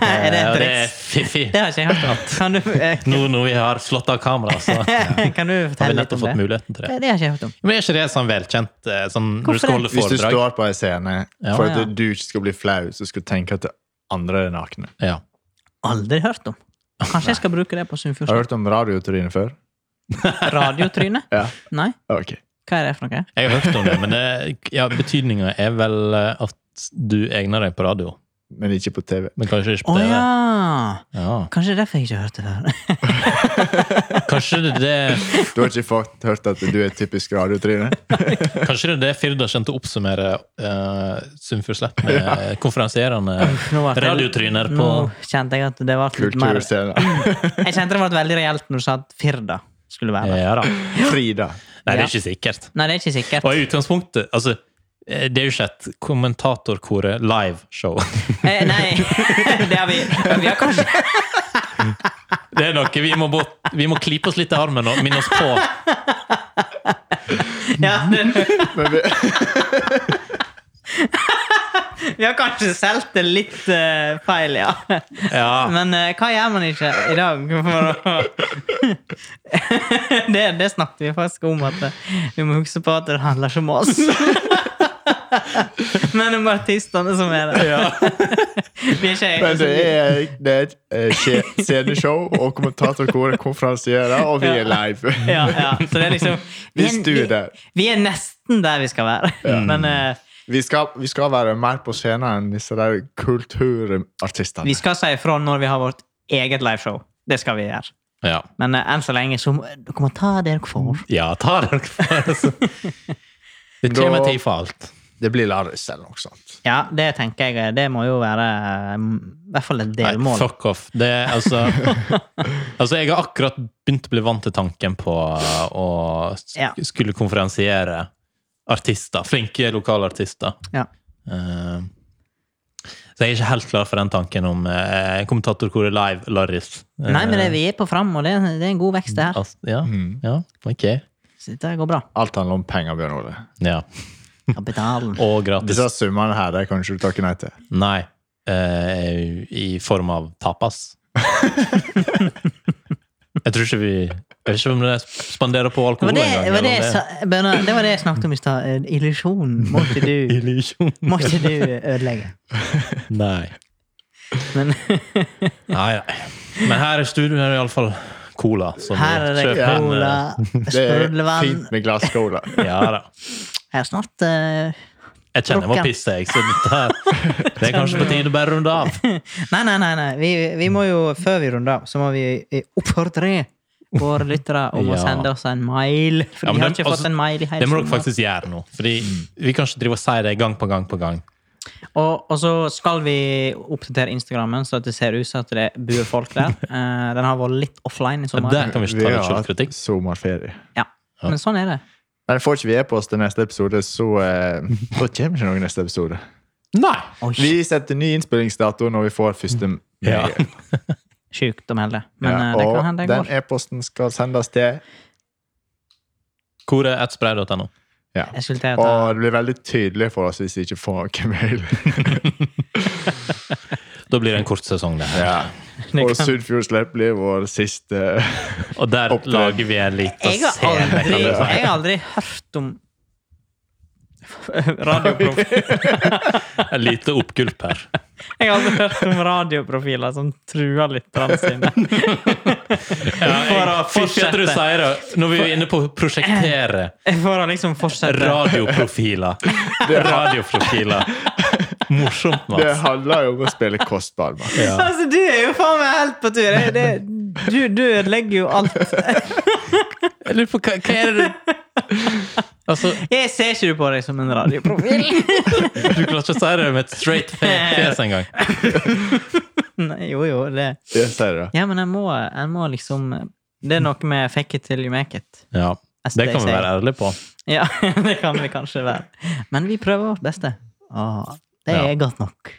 Speaker 2: er det et
Speaker 3: Ja, det er
Speaker 2: triks?
Speaker 3: fiffig.
Speaker 2: Det har ikke jeg hørt om. Kan du, eh,
Speaker 3: Nå når vi har slått av kameraet, så har
Speaker 2: kan du
Speaker 3: vi
Speaker 2: fortelle litt
Speaker 3: nettopp
Speaker 2: om
Speaker 3: fått
Speaker 2: det?
Speaker 3: muligheten til det.
Speaker 2: Det, det har ikke jeg hørt om.
Speaker 3: Men er ikke det sånn velkjent eh, sånn, når du skal holde
Speaker 4: Hvis du
Speaker 3: foredrag?
Speaker 4: står på en scene,
Speaker 3: Ja,
Speaker 4: for at
Speaker 2: ja.
Speaker 4: du ikke skal bli flau, så skal du tenke at det andre er nakne.
Speaker 3: Ja.
Speaker 2: Aldri hørt om. Kanskje jeg skal bruke det på
Speaker 4: Har du
Speaker 2: Sunnfjordstad?
Speaker 4: hørt om radiotrynet før?
Speaker 2: Radiotryne?
Speaker 4: Ja.
Speaker 2: Nei?
Speaker 4: Ok.
Speaker 2: Hva er det for noe?
Speaker 3: Jeg har hørt om det, men det, ja, betydninga er vel eh, at du eh, egner deg på radio.
Speaker 4: men ikke på TV.
Speaker 3: Men kanskje ikke
Speaker 2: Å
Speaker 3: på TV.
Speaker 2: ja!
Speaker 3: Ja.
Speaker 2: Kanskje det er derfor jeg ikke hørte det før.
Speaker 3: Kanskje det er det,
Speaker 4: Du har ikke fått hørt at du er typisk radiotryne?
Speaker 3: kanskje det, er det Firda kjente å oppsummere uh, Sunnfjordslett med konferansierende
Speaker 2: Nå ble det-
Speaker 3: radiotryner på
Speaker 2: Nå kjente jeg at det var litt mer
Speaker 4: Kulturscene.
Speaker 2: Jeg kjente det ble veldig reelt når du sa at Firda skulle være der.
Speaker 3: Ja da.
Speaker 4: Frida.
Speaker 3: Nei, det
Speaker 2: Ja.
Speaker 3: er ikke sikkert.
Speaker 2: Nei, det er ikke sikkert.
Speaker 3: Og i utgangspunktet altså, eh, Det er jo ikke et kommentatorkoret liveshow.
Speaker 2: Eh, nei, det har vi Vi har kanskje
Speaker 3: Det er noe vi må, bort, vi må klype oss litt i armen og minne oss på.
Speaker 2: ja, det-
Speaker 4: Men vi,
Speaker 2: Vi har kanskje solgt det litt eh, feil, ja.
Speaker 3: Ja,
Speaker 2: Men eh, hva gjør man ikke i dag for å det, det snakket vi faktisk om, at eh, vi må huske på at det handler ikke om oss. Men om artistene som er der.
Speaker 3: ja.
Speaker 2: Vi er ikke
Speaker 4: men det er, det er et eh, skje- sceneshow, og kommentatorkoret konferansierer, og vi er live.
Speaker 2: ja, ja. Så det er liksom
Speaker 4: Vi
Speaker 2: er-
Speaker 4: stuer der.
Speaker 2: Vi er nesten der vi skal være. Men eh,
Speaker 4: Vi skal, vi skal være mer på scenen enn disse der kulturartistene.
Speaker 2: vi skal si ifra når vi har vårt eget liveshow. Det skal vi gjøre.
Speaker 3: ja.
Speaker 2: Men eh, enn så lenge så må- dere må ta det dere får.
Speaker 3: Ja, ta dere for det. Det kommer en tid for alt.
Speaker 4: Det blir Larris eller noe sånt.
Speaker 2: Ja, det tenker jeg. eh, Det må jo være eh, i hvert fall et
Speaker 3: Nei,
Speaker 2: delmål.
Speaker 3: fuck off. Det er altså Altså, jeg har akkurat begynt å bli vant til tanken på å sk-
Speaker 2: Ja.
Speaker 3: skulle konferansiere artister. Flinke lokale artister.
Speaker 2: Ja.
Speaker 3: Eh, så jeg er ikke helt klar for den tanken om eh, kommentatorkoret Live Larris. Eh,
Speaker 2: Nei, men det, vi er på fram, og det, det er en god vekst, det her.
Speaker 3: altså, ja,
Speaker 4: Mm.
Speaker 3: ja, ok.
Speaker 2: Så dette går bra.
Speaker 4: Alt handler om penger, Bjørn Ole.
Speaker 3: Ja.
Speaker 2: Kapitalen.
Speaker 3: Og gratis.
Speaker 4: Disse summene her de kan ikke du takke nei til.
Speaker 3: Nei. eh, I form av tapas. jeg tror ikke vi Jeg vet ikke om det spanderer på
Speaker 2: Det
Speaker 3: alkohol
Speaker 2: var det,
Speaker 3: engang,
Speaker 2: det, var det,
Speaker 3: eller
Speaker 2: jeg
Speaker 3: om
Speaker 2: sa- Bjørnar, det var det jeg snakket om i stad. Eh, Illusjon må ikke du,
Speaker 3: Illusjon.
Speaker 2: må ikke du ødelegge.
Speaker 3: Nei.
Speaker 2: Men
Speaker 3: Nei, nei. Men her i studio er det iallfall cola. Som
Speaker 2: her er det cola,
Speaker 3: eh,
Speaker 4: Det er
Speaker 2: sprudlevann
Speaker 4: fint med glasskola.
Speaker 3: Ja da.
Speaker 2: Her snart eh,
Speaker 3: Jeg kjenner jeg må
Speaker 2: Rocken.
Speaker 3: pisse, jeg. Så dette her, det er kanskje på tide å bare runde av.
Speaker 2: Nei, nei, nei. nei. Vi, vi må jo, før vi runder av, så må vi eh, oppfordre våre lyttere om
Speaker 3: Ja.
Speaker 2: å sende oss en mail. For
Speaker 3: Ja,
Speaker 2: vi
Speaker 3: men
Speaker 2: har
Speaker 3: dem-
Speaker 2: ikke fått
Speaker 3: altså,
Speaker 2: en mail i hele
Speaker 3: Det må dere
Speaker 2: sommer.
Speaker 3: faktisk gjøre nå. Fordi vi kan ikke drive og si det gang på gang på gang.
Speaker 2: Og, og så skal vi oppdatere Instagrammen, så at det ser ut som at det bor folk der. Eh, den har vært litt offline i sommer.
Speaker 3: Der kan vi ikke
Speaker 4: Vi
Speaker 3: ta litt
Speaker 4: har hatt
Speaker 3: sjølkritikk.
Speaker 4: sommerferie.
Speaker 2: Ja. Men sånn er det.
Speaker 4: Men får ikke vi e-post til neste episode, så eh, da kommer ikke noen neste episode.
Speaker 3: Nei!
Speaker 2: Oi,
Speaker 4: Vi setter ny innspillingsdato når vi får første
Speaker 3: Mm. Ja.
Speaker 2: sjukt å melde. Men
Speaker 4: Ja,
Speaker 2: eh, det
Speaker 4: og
Speaker 2: kan hende det
Speaker 4: den
Speaker 2: går.
Speaker 4: e-posten skal sendes til
Speaker 3: Koret at spray.no.
Speaker 4: ja.
Speaker 2: Jeg skulle til å ta
Speaker 4: Og det blir veldig tydelig for oss hvis vi ikke får noen mail.
Speaker 3: Da blir det en kort sesong, det her.
Speaker 4: Ja. Og Sunnfjord Slepp blir vår siste
Speaker 3: Og der
Speaker 4: Opptur.
Speaker 3: lager vi en liten
Speaker 2: Jeg har
Speaker 3: scene.
Speaker 2: aldri,
Speaker 3: kan du si.
Speaker 2: jeg har aldri hørt om radioprof...
Speaker 3: Et lite oppgulp her.
Speaker 2: Jeg har aldri hørt om radioprofiler som truer lytterne sine. For å
Speaker 3: Fortsetter du
Speaker 2: fortsette.
Speaker 3: sier det, når vi er inne på å prosjektere
Speaker 2: For å liksom fortsette.
Speaker 3: radioprofiler Radioprofiler. Morsomt,
Speaker 4: Det
Speaker 3: Mats.
Speaker 4: handler jo om å spille kostball. Mats.
Speaker 3: Ja.
Speaker 2: Altså, du er jo faen meg helt på tur! Det, det, du, du ødelegger jo alt.
Speaker 3: Jeg lurer på hva, hva er det du Altså,
Speaker 2: Jeg ser ikke du på deg som en radioprofil.
Speaker 3: du klarer ikke å si det med et straight fe- fjes engang.
Speaker 2: Nei, jo, jo, det
Speaker 4: Jeg sier det.
Speaker 2: Ja, men jeg må, jeg må liksom Det er noe med fake it till you make it.
Speaker 3: Ja,
Speaker 2: Altså,
Speaker 3: det kan vi være ærlige på.
Speaker 2: Ja, det kan vi kanskje være. Men vi prøver vårt beste. Og det er
Speaker 3: Ja.
Speaker 2: godt nok,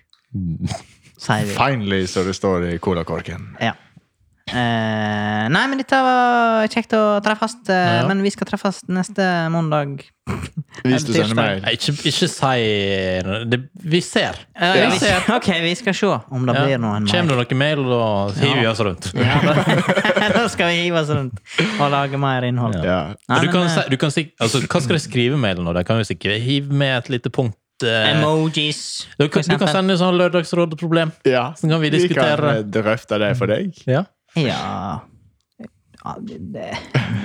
Speaker 2: sier vi.
Speaker 4: Finally, som det står i colakorken.
Speaker 2: Ja. Eh, nei, men dette var kjekt å treffes. eh,
Speaker 3: Ja.
Speaker 2: Men vi skal treffes neste mandag.
Speaker 4: Hvis du
Speaker 2: Tirsdag.
Speaker 4: sender mail.
Speaker 3: Nei, Ikke, ikke si det. Vi ser.
Speaker 2: Eh,
Speaker 4: Ja.
Speaker 2: vi ser- ok, vi skal se om det
Speaker 3: Ja.
Speaker 2: blir noen
Speaker 3: Kommer
Speaker 2: mer.
Speaker 3: det noen mail, da hiver vi oss rundt.
Speaker 2: Ja, da, da skal vi hive oss rundt og lage mer innhold.
Speaker 4: Ja.
Speaker 2: Nei,
Speaker 3: du
Speaker 2: men,
Speaker 3: kan,
Speaker 2: eh,
Speaker 3: si- du kan, si- altså, hva skal de skrive i mailen? nå? De kan jo sikkert hive med et lite punkt. eh,
Speaker 2: Emojis.
Speaker 3: du,
Speaker 2: for
Speaker 3: kan, du kan
Speaker 2: eksempel.
Speaker 3: sende sånn lørdagsrådeproblem.
Speaker 4: ja.
Speaker 3: Så kan vi diskutere.
Speaker 4: eh, drøfte det for deg.
Speaker 3: Ja.
Speaker 2: Ja, ja det, det.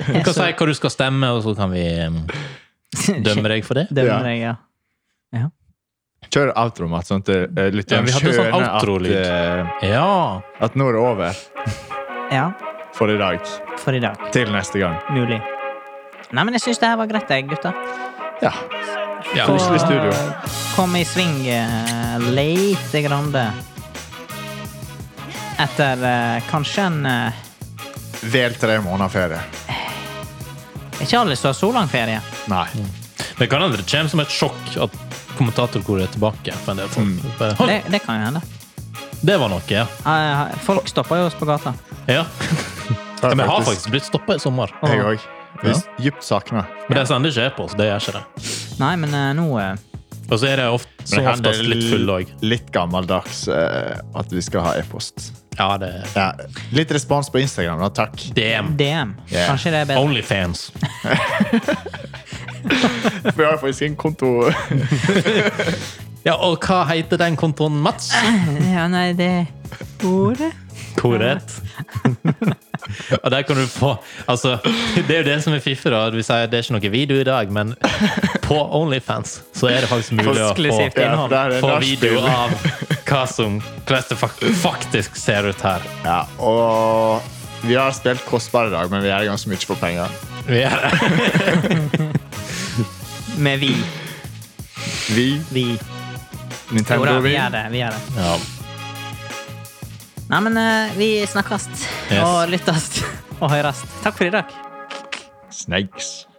Speaker 3: Du kan si hva du skal stemme, og så kan vi eh, dømme deg for det.
Speaker 2: Dømmer
Speaker 4: Ja.
Speaker 2: deg, ja.
Speaker 4: Kjør outro, Mats, sånn at eh,
Speaker 3: Ja,
Speaker 4: lytterne
Speaker 3: vi hadde sånn
Speaker 4: skjønner at,
Speaker 3: outro-lyd.
Speaker 4: eh,
Speaker 3: Ja.
Speaker 4: at nå er det over
Speaker 2: Ja,
Speaker 4: for i dag.
Speaker 2: for i dag.
Speaker 4: Til neste gang.
Speaker 2: Mulig. Nei, men jeg syns det her var greit, jeg, gutta.
Speaker 4: Ja.
Speaker 3: ja.
Speaker 2: Få-
Speaker 4: Koselig studio.
Speaker 2: Kom i sving uh, lite grann. Etter eh, kanskje en eh,
Speaker 4: Vel tre måneder ferie.
Speaker 2: Ikke alle som har så lang ferie.
Speaker 4: Nei.
Speaker 3: Mm. Det kan hende det kommer som et sjokk at kommentatorkoret er tilbake. For en del folk. Hold,
Speaker 2: Det, det kan jo hende.
Speaker 3: Mm. det var noe, ja.
Speaker 2: Eh, folk stopper jo oss på gata.
Speaker 3: ja. Ja, men jeg har faktisk blitt stoppa i sommer.
Speaker 4: Jeg òg.
Speaker 3: Ja.
Speaker 4: Dypt savna.
Speaker 3: Men de sender ikke e-post. Det gjør ikke det.
Speaker 2: Nei, men eh, nå eh,
Speaker 3: Og så er det ofte, som oftest litt full òg.
Speaker 4: Litt gammeldags eh, at vi skal ha e-post.
Speaker 3: Ja, det er
Speaker 4: Ja. Litt respons på Instagram, da. Takk.
Speaker 3: DM.
Speaker 2: DM.
Speaker 4: Yeah.
Speaker 2: Kanskje det er bedre.
Speaker 3: Onlyfans.
Speaker 4: Vi har faktisk en konto.
Speaker 3: Ja, og hva heter den kontoen, Mats?
Speaker 2: Ja, nei, det Ordet?
Speaker 3: Korrekt. og der kan du få Altså, det er jo det som er fiffig, da. Vi sier det er ikke noe video i dag, men på Onlyfans så er det faktisk mulig å få,
Speaker 2: Eksklusivt innhold.
Speaker 4: Ja, der er
Speaker 3: få
Speaker 4: nachspiel.
Speaker 3: video av hva som hvordan det fak- faktisk ser ut her.
Speaker 4: Ja, og vi har spilt kostbar i dag, men vi gjør det ganske mye for penger.
Speaker 3: Vi er
Speaker 2: Med vi.
Speaker 4: Vi,
Speaker 2: Vi. Jo da,
Speaker 4: Nintendo,
Speaker 2: vi
Speaker 4: vi.
Speaker 2: er det. Vi er det.
Speaker 3: Ja.
Speaker 2: Nei, men eh, vi snakkes.
Speaker 3: Yes.
Speaker 2: Og lyttes. Og høres. Takk for i dag.
Speaker 4: Snakes.